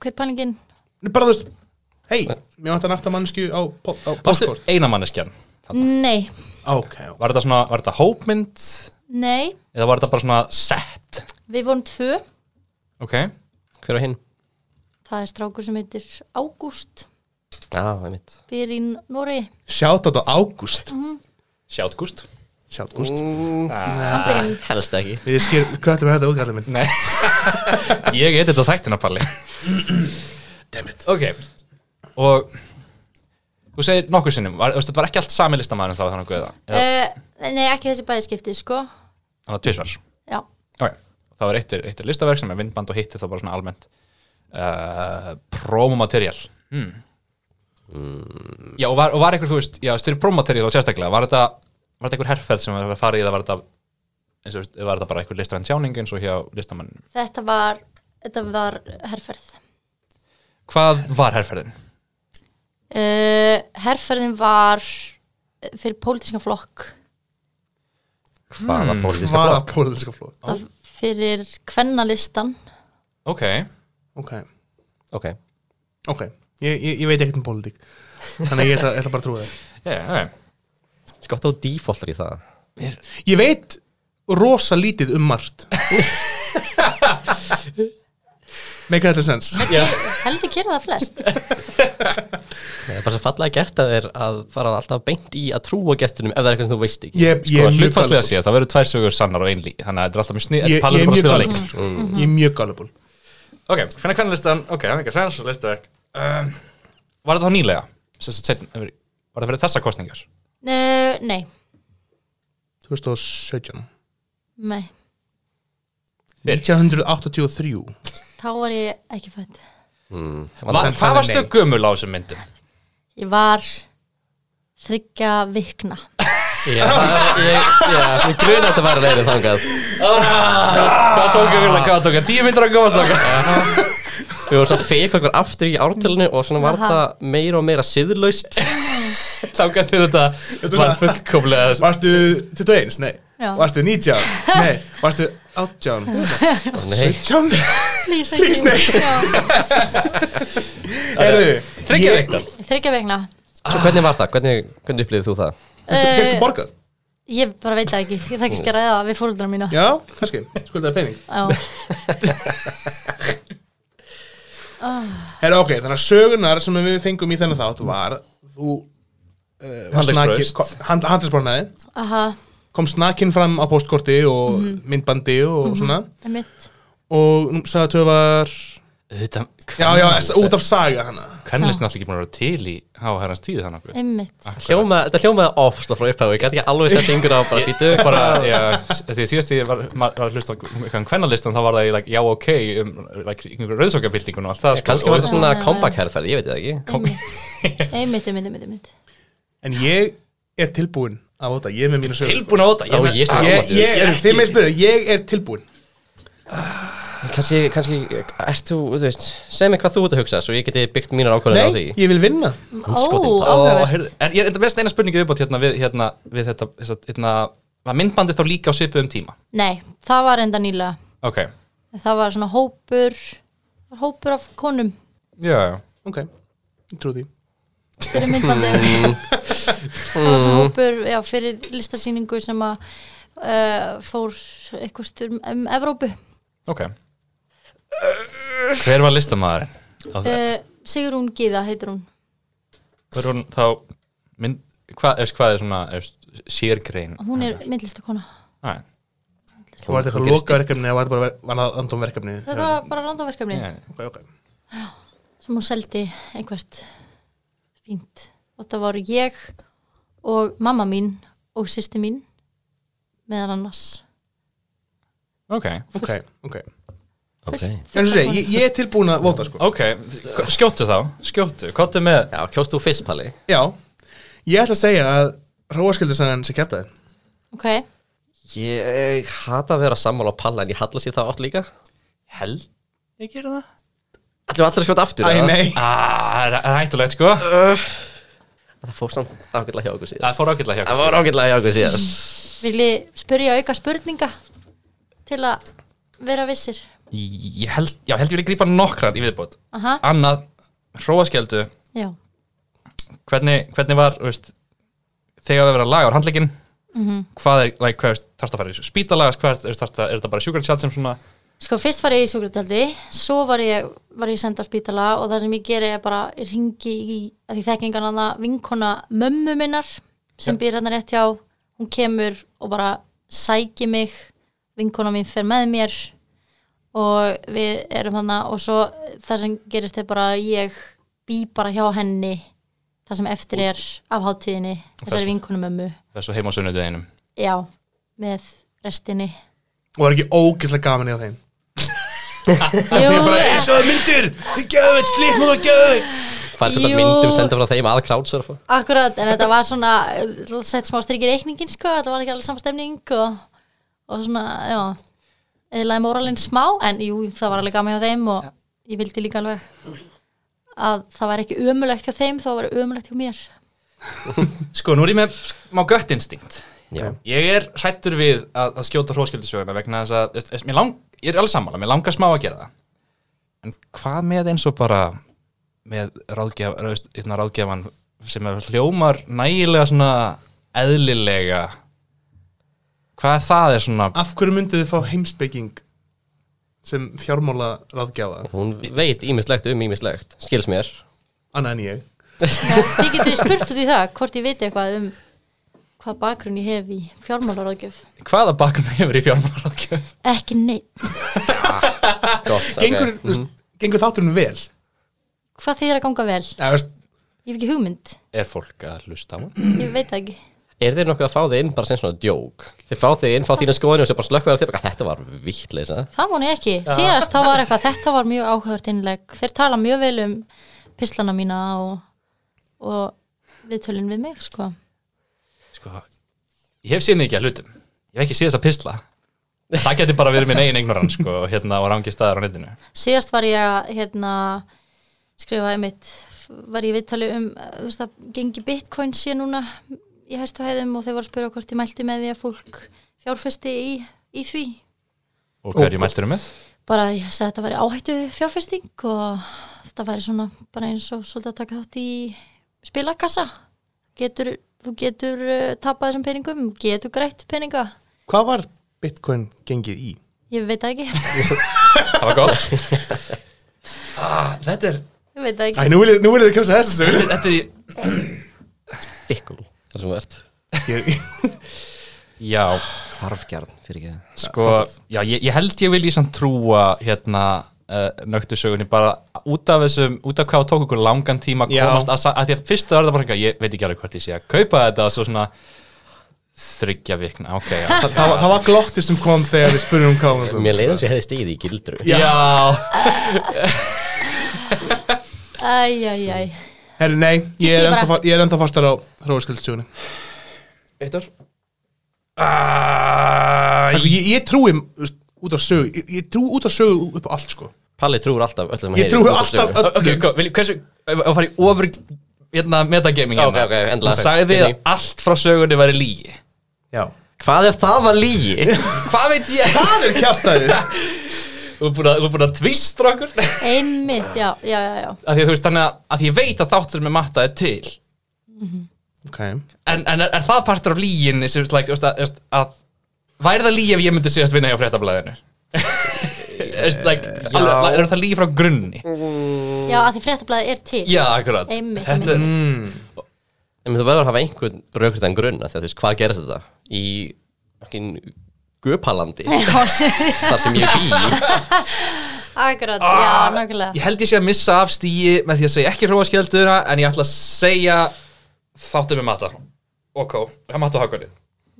Speaker 5: hver pælingin
Speaker 1: Nei, Bara, þú veist, hei, mér vantar nátt að mannsku á, po- á
Speaker 3: Varstu
Speaker 1: postkort.
Speaker 3: einamanneskjan
Speaker 5: nei,
Speaker 1: Ok, ok.
Speaker 3: Var þetta svona, var þetta hópmynd
Speaker 5: Nei,
Speaker 3: eða var þetta bara svona set
Speaker 5: við vorum tvö
Speaker 3: Ok,
Speaker 4: Hver á hinn?
Speaker 5: Það er strákur sem heitir Ágúst
Speaker 4: Já, einmitt
Speaker 5: býr í Nóri
Speaker 1: Shoutout á Ágúst
Speaker 3: sjátgúst
Speaker 1: Shoutout Ágúst
Speaker 3: Mm.
Speaker 4: Ah, Helst ekki
Speaker 1: Við skil, hvað er þetta útgallið minn?
Speaker 3: Nei Ég edit á þættina palli Dammit Ok Og Þú segir nokkuð sinnum var, þú veist, Þetta var ekki allt sami listamæðurinn þá
Speaker 5: Eh,
Speaker 3: þannig að guða
Speaker 5: uh, Nei, ekki þessi bæðiskipti, sko
Speaker 3: Þannig að tvisvar
Speaker 5: Já,
Speaker 3: Ok það var eitt, er- eitt er listaverk sem er vindband og hitti þá bara svona almennt uh, promomaterial hmm. já og var, og var eitthvað þú veist já, styrir promomaterial og sérstaklega var þetta, var þetta eitthvað herrferð sem var að fara í eða var þetta eins og þú veist, var þetta bara eitthvað listræn sjáning eins og hjá listamann
Speaker 5: Þetta var, þetta var herrferð.
Speaker 3: hvað var herrferðin?
Speaker 5: Uh, herrferðin var fyrir pólitíska flokk,
Speaker 4: Hmm. hvaða pólitíska
Speaker 1: Hvaða
Speaker 4: flokk
Speaker 1: pólitíska flokk?
Speaker 5: það fyrir kvennalistan.
Speaker 3: ok,
Speaker 1: Ok,
Speaker 4: ok,
Speaker 1: ok, ég, ég, ég veit ekkert um pólitík Þannig að ég ætla, ætla bara að trúa þér
Speaker 3: yeah, ok
Speaker 4: skott á defaultar í það
Speaker 1: Ég veit rosa lítið um margt Make that sense
Speaker 3: Sko,
Speaker 5: Yeah. Heldur gera það flest.
Speaker 4: það er bara svo fallega gert að þér að fara alltaf beint í að trúa gestunum ef það er eitthvað sem þú veist
Speaker 1: Ég,
Speaker 4: ekki
Speaker 1: ég
Speaker 3: sko,
Speaker 1: er mjög
Speaker 3: hlutfarslega
Speaker 1: gullible.
Speaker 3: séð, það verður tvær sögur sannar og ein lí þannig að þetta er alltaf mjög snið,
Speaker 1: Ég,
Speaker 3: þetta
Speaker 1: ég
Speaker 3: palur
Speaker 1: er
Speaker 3: bara Mm. að
Speaker 1: mjög
Speaker 3: spila
Speaker 1: gullible.
Speaker 3: leik
Speaker 1: Ég er mjög gullible
Speaker 3: ok, hvernig hvernig listan, ok, það er ekki svensk listaverk um, var þetta þá nýlega? Sem sagt seinna- var þetta fyrir þessa kostningar?
Speaker 5: Uh, nei,
Speaker 1: 2017
Speaker 5: nei,
Speaker 1: 1983
Speaker 5: þá var ég ekki fætt.
Speaker 4: mm.
Speaker 3: Va,
Speaker 1: það er
Speaker 3: hvað varstu
Speaker 1: nei.
Speaker 3: gömul á þessum myndum?
Speaker 5: Ég var þryggja vikna.
Speaker 4: Já, ég, já, mér gruna þetta var verið þangað Ah.
Speaker 3: hvað tók ég vilja, hvað tók ég? tíu myndir að komast þangað
Speaker 4: Við vorum svo að feka okkur aftur í ártelinu og svona var
Speaker 5: Aha.
Speaker 4: þetta meira og meira siðlaust
Speaker 3: þangað til þetta var fullkomlega
Speaker 1: Varstu 21? Nei
Speaker 5: Já.
Speaker 1: Varstu 19? Nei Varstu 18?
Speaker 4: Nei,
Speaker 1: 17?
Speaker 5: Please,
Speaker 1: Please, nei.
Speaker 5: Já,
Speaker 1: Herðu
Speaker 3: þryggja
Speaker 1: ég-
Speaker 3: viktan
Speaker 5: Þriggja vikna.
Speaker 4: svo hvernig var það? Hvernig, hvernig upplifið þú það?
Speaker 1: Fékkstu fékkstu
Speaker 5: Uh,
Speaker 1: borgað?
Speaker 5: ég bara veit það ekki, ég þekki ekki að ræða það við fóröldra mína.
Speaker 1: Já, kannski Skuldaði pening
Speaker 5: Já.
Speaker 1: Herra, ok, þannig að sögunar sem við fengum í þennan þátt var þú uh,
Speaker 3: Handleggsbraust.
Speaker 1: hand, handlisbrotnaði
Speaker 5: Aha,
Speaker 1: kom snakinn fram á postkorti og myndbandi og svona
Speaker 5: það er mitt.
Speaker 1: og nú sagði töfar já, já, s- út af saga hana
Speaker 3: hvernig listin alltaf ekki búin að vera til í háherrans tíð þannig að
Speaker 5: Einmitt.
Speaker 4: Hljóma, þetta hljómaði ofsla frá upphæðu, ég gæti ekki alveg sett yngur á bara býtu bara
Speaker 3: bara, já, því að síðast ég var, var var að hlusta á eitthvað um kvennalistan þá var það í like, já ok um like, rauðsókabildingun og allt það sko,
Speaker 4: Kannski
Speaker 3: og-
Speaker 4: var þetta svona
Speaker 5: Já, já, já.
Speaker 4: comeback herrferð, ég veit það ekki
Speaker 5: Einmitt, einmitt, einmitt, einmitt, einmitt.
Speaker 1: en ég er tilbúin að vota, ég er með mína sögur
Speaker 3: tilbúin á
Speaker 4: Ó,
Speaker 3: þetta meina-
Speaker 4: Jesús.
Speaker 1: ég, ég, er, þið með spyrir, ég er tilbúin
Speaker 4: Kannski, kannski, ert þú, þú veist, segð mér hvað þú ert að hugsa svo ég geti byggt mínar ákvörðin á því
Speaker 1: nei, ég vil vinna
Speaker 5: Ó,
Speaker 4: skotin.
Speaker 3: Ó,
Speaker 5: áhugavert.
Speaker 3: heyrðu, en ég er enda mest eina spurningu viðbót hérna við, hérna, við þetta, þessa, hérna, var myndbandið þá líka á svipuðum tíma?
Speaker 5: Nei, það var enda nýlega.
Speaker 3: Ok,
Speaker 5: Það var svona hópur, það var hópur af konum
Speaker 3: já, já.
Speaker 1: ok, ég trú því
Speaker 5: fyrir myndbandi. það var svona hópur, já, fyrir listasýningu sem að uh, fór eitthvað um, um Evrópu.
Speaker 3: ok. Hver var listamaðurinn? á það?
Speaker 5: Uh, Sigrún Gíða heitir hún.
Speaker 3: Var hún þá, mynd, hva, efst, hvað er svona efst, sérgrein?
Speaker 5: Hún er myndlistakona.
Speaker 3: Æ,
Speaker 1: og var þetta eitthvað loka verkefni eða var þetta bara ver- var það andum verkefni
Speaker 5: Þetta var bara randaverkefni
Speaker 3: já,
Speaker 1: ok, ok,
Speaker 5: sem hún seldi einhvert fínt. Og það voru ég og mamma mín og sýsti mín meðan annars.
Speaker 3: ok,
Speaker 1: ok, ok
Speaker 4: Ok.
Speaker 1: en svo segi, ég, ég er tilbúin að vota sko
Speaker 3: ok, skjóttu þá, skjóttu, kottu með,
Speaker 4: Já, kjóst þú fyrst, Palli?
Speaker 1: já, ég ætla að segja að hróaskildisagan sem kæftaði
Speaker 5: Ok,
Speaker 4: Ég hata að vera sammála á Palli en ég hallast í það átt líka
Speaker 3: held, ég gera það?
Speaker 4: Ætlum við allir að skjóta aftur?
Speaker 1: Æ,
Speaker 4: eða?
Speaker 1: nei
Speaker 3: Ah, það er hættulegt sko,
Speaker 4: Það fór samt ágætlega hjá okkur síðan
Speaker 3: það fór ágætlega hjá
Speaker 4: Það fór ágætlega hjá okkur síðan
Speaker 5: viljið spyrja auka spurninga til að vera vissir.
Speaker 3: Ég held, já, held ég vilja grípa nokkran í viðbót.
Speaker 5: Aha,
Speaker 3: Annað, hróaskjöldu,
Speaker 5: já.
Speaker 3: hvernig, hvernig var þú veist, þegar við verðum að laga á handleikin hvað er, like, hvað er þarft að fara í spítalagast, hvað er þarft að er þetta bara sjúkransjálf sem svona
Speaker 5: Sko, fyrst var ég í sjúkrataldi, svo var ég, var ég senda á spítala og það sem ég geri er bara ég ringi í, að því þekkingan hana vinkona mömmu minnar sem býr hérna rétt hjá, hún kemur og bara sæki mig, vinkona mín fer með mér og við erum hana og svo það sem gerist er bara að ég bý bara hjá henni það sem eftir er af hátíðinni
Speaker 3: Þessu.
Speaker 5: þessari vinkonu mömmu,
Speaker 3: þessu heim á sunnudeginum
Speaker 5: já, með restinni
Speaker 1: og var ekki ógeðslega gaman í á þeim
Speaker 5: Jú,
Speaker 1: ég bara, ég sjáðu myndir, þið gæðu veit slíkt nú það gæðu veit
Speaker 4: Hvað er þetta
Speaker 5: Jú.
Speaker 4: myndum senda frá þeim að crowdsurfa?
Speaker 5: akkurat, en þetta var svona eh, sett smá strikir reikningin, sko þetta var ekki alveg sama stemning og, og svona, já eðlaði moralinn smá, en jú, það var alveg gaman hjá þeim og ég vildi líka alveg að það var ekki ömulegt hjá þeim, þá var ömulegt hjá mér
Speaker 3: Sko, nú er ég með smá gött instinct
Speaker 4: Já.
Speaker 3: Ég er hrættur við að, að skjóta hróskildisöguna vegna þess að, þess, mér lang, ég er alveg sammála, mér langar smá að gera það En hvað með eins og bara með ráðgjaf, ráðst, hérna, ráðgjafan sem er hljómar nægilega svona eðlilega Hvað er það er svona
Speaker 1: af hverju myndið þið fá heimsbygging sem fjármála ráðgjafa
Speaker 4: Hún veit ímislegt um ímislegt, skils mér.
Speaker 1: annað en ég
Speaker 5: Þið getur spurt út í það hvort ég veit eitthvað um hvað bakgrunn ég hef í fjármálaráðgjöf
Speaker 3: hvaða bakgrunn hefur í fjármálaráðgjöf?
Speaker 5: ekki neitt,
Speaker 4: Gott,
Speaker 1: gengur,
Speaker 4: ok. mhm.
Speaker 1: þú veist, gengur þátturinn vel
Speaker 5: hvað þið er að ganga vel
Speaker 1: eða, þú veist,
Speaker 5: ég hef ekki hugmynd,
Speaker 3: Er fólk að hlusta á hann?
Speaker 5: ég veit það ekki
Speaker 4: Er þeir nokkuð að fá þig inn bara sem svona djók? Þeir fá þig inn, fá þínu skoðinu og sér bara slökkuðar þér bara, þetta var vittleisa.
Speaker 5: það vonu ég ekki, síðast þá var eitthvað þetta var mjög áhugavert innleg, þeir tala mjög vel um pislana mína og, og viðtölin við mig sko,
Speaker 3: Sko, ég hef séð mikið að hlutum Ég hef ekki séð þess að pistla Það geti bara verið minn eigin ignorant sko, hérna og rangi staðar á netinu
Speaker 5: síðast var ég að hérna, skrifaði mitt var ég í viðtali um eh, þú veist að gengi bitcoin sé núna í hæstu hæðum og þeir voru að spura hvort ég mælti með því að fólk fjárfesti í, í því
Speaker 3: Og hverju mæltir um með?
Speaker 5: bara ég sagði að þetta væri áhættu fjárfesting og þetta væri svona bara eins og svolítið að taka þátt í spilakassa getur, þú getur uh, tapað þessum peningum getur grætt peninga
Speaker 1: hvað var bitcoin gengið í
Speaker 5: ég veit það ekki,
Speaker 3: Það var gott ah, Þetta er,
Speaker 5: ég veit
Speaker 1: Æ,
Speaker 5: það ekki
Speaker 1: nú vil ég, nú vil ég kemsa þessu sögu.
Speaker 3: þetta er í-
Speaker 4: Fikkul, það sem þú ert.
Speaker 1: Ég-
Speaker 3: Já,
Speaker 4: Hvarfgjarn, fyrir ekki það.
Speaker 3: sko Já, ég, ég held ég vil í samt trúa hérna uh, nöktu sögunni bara út af þessum, út af hvað það tók ykkur langan tíma að
Speaker 1: Já.
Speaker 3: komast að, sa- að því að fyrst var það bara eitthvað, ég veit ekki alveg hvort ég sé að kaupa þetta svo svona þryggja vikna, ok, já
Speaker 1: Þa, það, var- það var glotti sem kom þegar við spurðum um hvað hún-
Speaker 4: Mér leiðum sem ég hefði stigið í gildru.
Speaker 1: Já.
Speaker 3: já.
Speaker 5: æjæjæj,
Speaker 1: Herri, nei, ég
Speaker 5: stíg
Speaker 1: er
Speaker 5: bara.
Speaker 1: ennþá fa- ég er ennþá fastar á hróskildsugunni
Speaker 4: Eittur?
Speaker 1: ég, ég trúi þú veist, út af sögu ég, ég trúi út af sögu upp á allt sko
Speaker 4: Palli trúur alltaf öllum
Speaker 1: Ég trúi alltaf
Speaker 4: öllum.
Speaker 1: öllum
Speaker 3: Ok, kom, vil, hversu, ef ef að fara í ofur hérna, metagaming
Speaker 4: Já, ok,
Speaker 3: hérna.
Speaker 4: ok, endilega.
Speaker 3: Hún sagði að
Speaker 4: Hérna í.
Speaker 3: allt frá sögunni væri lígi
Speaker 1: Já
Speaker 4: Hvað ef það var lígi?
Speaker 3: Hvað veit ég?
Speaker 1: Það er kjáttæðið
Speaker 3: Þú er búin að, þú ert búin að tvistra okkur Af
Speaker 5: einmitt, já, já, já, já
Speaker 3: því að þú veist þannig að, að ég veit að þáttur með matta er til
Speaker 1: Ok
Speaker 3: En, en er, er það partur af líginni sem like, þú veist, að, þú veist, að Væri það lígi ef ég myndi síðast vinna hjá fréttablaðinu? Veist, like, alveg, er það lígi frá grunni?
Speaker 5: já, að því fréttablaði er til
Speaker 3: Já, akkurat
Speaker 5: Einmitt,
Speaker 3: Þetta er
Speaker 4: En þú verður að hafa einhvern raukriðan grunn af því að þú veist, hvað gerist þetta? Í okkin Göpalandi,
Speaker 5: Já,
Speaker 4: þar sem ég bý
Speaker 5: akkurat, já, nákvæmlega
Speaker 3: Ég held ég sé að missa af stíi með því að segja ekki hróaskjalduna en ég ætla að segja þáttum með mata ok, það er mata hakunni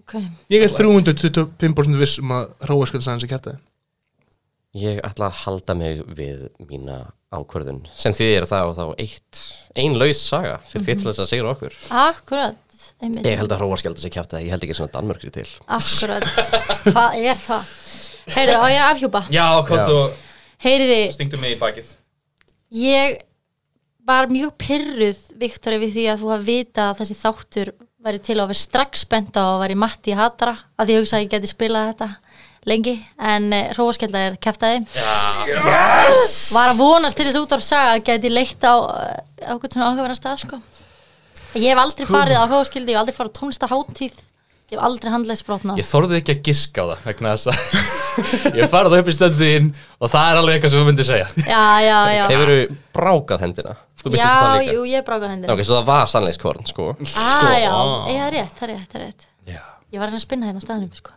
Speaker 5: ok,
Speaker 1: Ég er 325% viss um að hróskildsugunni sé kjáttæðið
Speaker 4: Ég ætla að halda mig við mína ákvörðun sem þið eru það og þá eitt ein laus saga fyrir þitt til þess að segja okkur
Speaker 5: akkurat einmitt,
Speaker 4: Ég held að hróarskjaldar sér kjátt að ég held ekki svona Danmörk sér til
Speaker 5: akkurat hvað er það? heyrðu, á ég að afhjúpa
Speaker 3: Já, hvort þú
Speaker 5: heyriði,
Speaker 3: stingdu mig í bakið
Speaker 5: Ég var mjög pyrruð, Viktor, við því að þú hafði vita að þessi þáttur væri til að vera strax spenta og væri matti í hatara af því ég hugsa að ég geti spilað þetta lengi, en hróaskjölda er keftaði yes! Var að vonast til þessi útvarfsaga að geti leitt á eh, ákveðn svona áhugaverðan stað sko. Ég hef aldrei farið á hróaskjöldi, ég hef aldrei farið á tónlistaháttíð ég hef aldrei handlegsbrotna
Speaker 3: Ég þorði ekki að giska á það vegna þess að ég farið upp í stöndin og það er alveg eitthvað sem þú myndir segja
Speaker 5: Já, já, já
Speaker 4: Hefur þú brákað hendina? Þú myndist það
Speaker 5: Já,
Speaker 4: líka
Speaker 5: jú, ég bráka hendur
Speaker 4: Ok, svo það var sannleikskorn, sko
Speaker 5: Ah, já, ég er rétt, það er rétt, það er rétt
Speaker 3: Já,
Speaker 5: Ég var að reyna að spinna hérna á staðnum sko.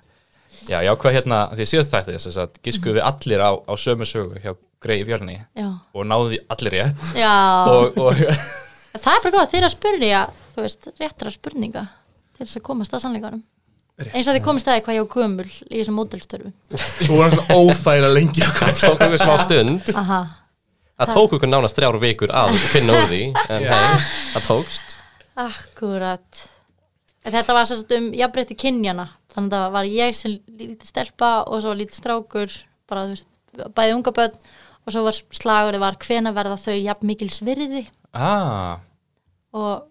Speaker 3: já, já hvað hérna því að síðast þætti þess að giskuðu við allir á, á sömu sögu hjá Grey Fjörni
Speaker 5: Já,
Speaker 3: og náðu því allir rétt
Speaker 5: já.
Speaker 3: og, og
Speaker 5: það er bara góð þeir eru að spurja þú veist, réttra spurninga til þess að komast að sannleikanum eins og þið komist aðeins hvað ég á gömul í þessum módelstörfu
Speaker 1: Svo var hann svona óþægilega lengi að
Speaker 4: Það tók okkur smá stund
Speaker 5: aha,
Speaker 4: Það tók okkur nánast þrjár vikur að finna úr því En hei, það tókst
Speaker 5: akkurat en þetta var sérst um jafnbreytti kynjana þannig að það var ég sem lítið stelpa og svo var lítið strákur bara þú veist, bæði unga börn og svo var slagurði var hvena verða þau jafn mikils virði
Speaker 3: Ah,
Speaker 5: og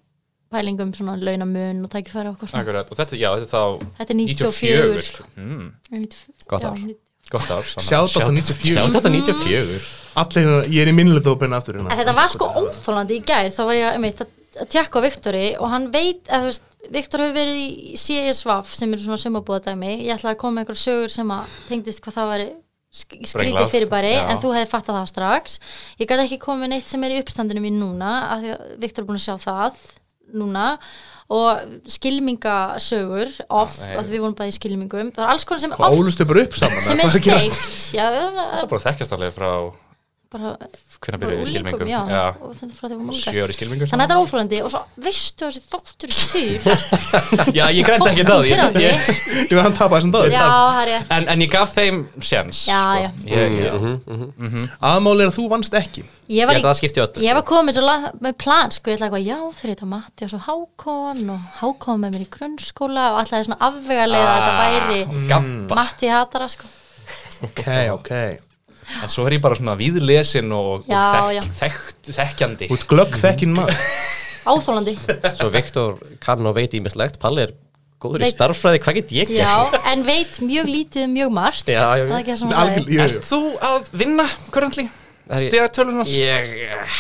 Speaker 5: pælingum svona launamun og tækifæri og okkur svona
Speaker 3: akkurat, og þetta, já, þetta er þá
Speaker 5: þetta er 94
Speaker 3: 94 mm,
Speaker 4: Gott ár.
Speaker 3: Gott ár saman.
Speaker 1: Sjátt á 94
Speaker 4: Sjátt þetta 94
Speaker 1: Allir, hérna- ég er í minnilega dópina aftur hérna.
Speaker 5: En þetta var sko óþólandi í gær þá var ég einmitt, að- að tjekka á Viktori og hann veit að þú veist Viktor hefur verið í CSVAF sem eru svona sumabúðadæmi ég ætlaði að koma með einhver sögur sem að tengdist hvað það væri sk- skrítið
Speaker 3: Brenglað,
Speaker 5: fyrirbæri
Speaker 3: já.
Speaker 5: en þú hefði fattað það strax ég gæti ekki komið með neitt sem er í uppstandinu mín núna af því að Viktor er búin að sjá það núna og skilmingasögur off,
Speaker 3: Já, nei.
Speaker 5: að við vorum bæði í skilmingum það var alls konar sem er
Speaker 1: Hvað
Speaker 5: off
Speaker 1: ólustu bara upp saman
Speaker 5: sem
Speaker 1: eða
Speaker 5: er
Speaker 1: hvað gerast?
Speaker 5: steikt já,
Speaker 3: Það er bara að þekkjast alveg frá
Speaker 5: bara,
Speaker 3: hvernig
Speaker 5: bara
Speaker 3: byrjuðu í
Speaker 5: úlingum
Speaker 3: skilmingum
Speaker 5: já,
Speaker 3: Já,
Speaker 5: og þannig frá því vorum úlingar
Speaker 3: sjö ári skilmingum
Speaker 5: Þannig að þetta er óþólandi og svo veistu þessi þóttur styr
Speaker 3: Já, ég grænt ekki það ég,
Speaker 5: Pirrandi.
Speaker 3: ég,
Speaker 1: Ég veit hann tapaði þessum dag
Speaker 5: Já, það er rétt
Speaker 3: en, en ég gaf þeim séns
Speaker 5: Já,
Speaker 3: sko.
Speaker 5: já.
Speaker 3: Ég, já.
Speaker 1: Aðmáli er að þú vannst ekki
Speaker 5: Ég
Speaker 4: Ég
Speaker 5: var,
Speaker 4: held að það
Speaker 5: í,
Speaker 4: skipti öllu
Speaker 5: ég var komið svo la- með plan sko, ég ætla eitthvað, já þeir heita Matti og svo Hákon og Hákon með mér í grunnskóla og alltaf svona afvegarlega að
Speaker 4: Ah,
Speaker 5: þetta væri
Speaker 3: Gabba
Speaker 5: Matti hatara sko
Speaker 1: Ok, ok
Speaker 3: En svo er ég bara svona víðlesin og,
Speaker 5: Já,
Speaker 3: og
Speaker 5: já.
Speaker 3: þekk, þekkt, þekkjandi
Speaker 1: Út glögg þekkin maður
Speaker 5: Áþólandi
Speaker 4: Svo Viktor kann og veit ímislegt Palli er góður í
Speaker 5: Veit-
Speaker 4: starffræði, hvað get ég
Speaker 5: Já,
Speaker 4: gert?
Speaker 5: en veit mjög lítið um mjög margt
Speaker 4: Já, já,
Speaker 5: Það er ekki það sem hún
Speaker 1: Algjör,
Speaker 5: sagði
Speaker 1: jú,
Speaker 3: Ert
Speaker 1: jú.
Speaker 3: þú að vinna, currently?
Speaker 4: Er ég-
Speaker 3: Stiga tölunar?
Speaker 4: Ég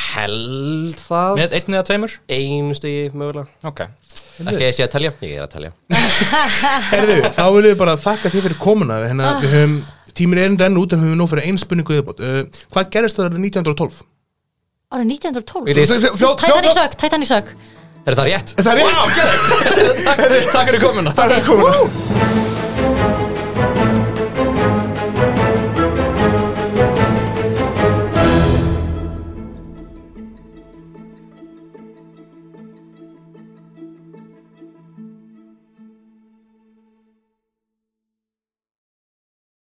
Speaker 4: held það
Speaker 3: Með einn eða tveimur?
Speaker 4: einu stigi mögulega
Speaker 3: Ok
Speaker 4: Ekki að ég sé að telja, ég er að telja
Speaker 1: Herðu, þá viljum við bara þakka þér fyrir komuna Við, hérna, við höfum, tíminn er enn renn út en við höfum nú fyrir einspunningu viðbót uh, Hvað gerist það 1912?
Speaker 5: Árið
Speaker 4: Við
Speaker 1: Fljótt,
Speaker 4: erum-
Speaker 5: 1912
Speaker 1: fljótt,
Speaker 5: Titanic
Speaker 1: fljótt
Speaker 5: sög, Titanic sög
Speaker 4: Er það rétt?
Speaker 1: Það er rétt
Speaker 3: Takk fyrir komuna
Speaker 1: Það er komuna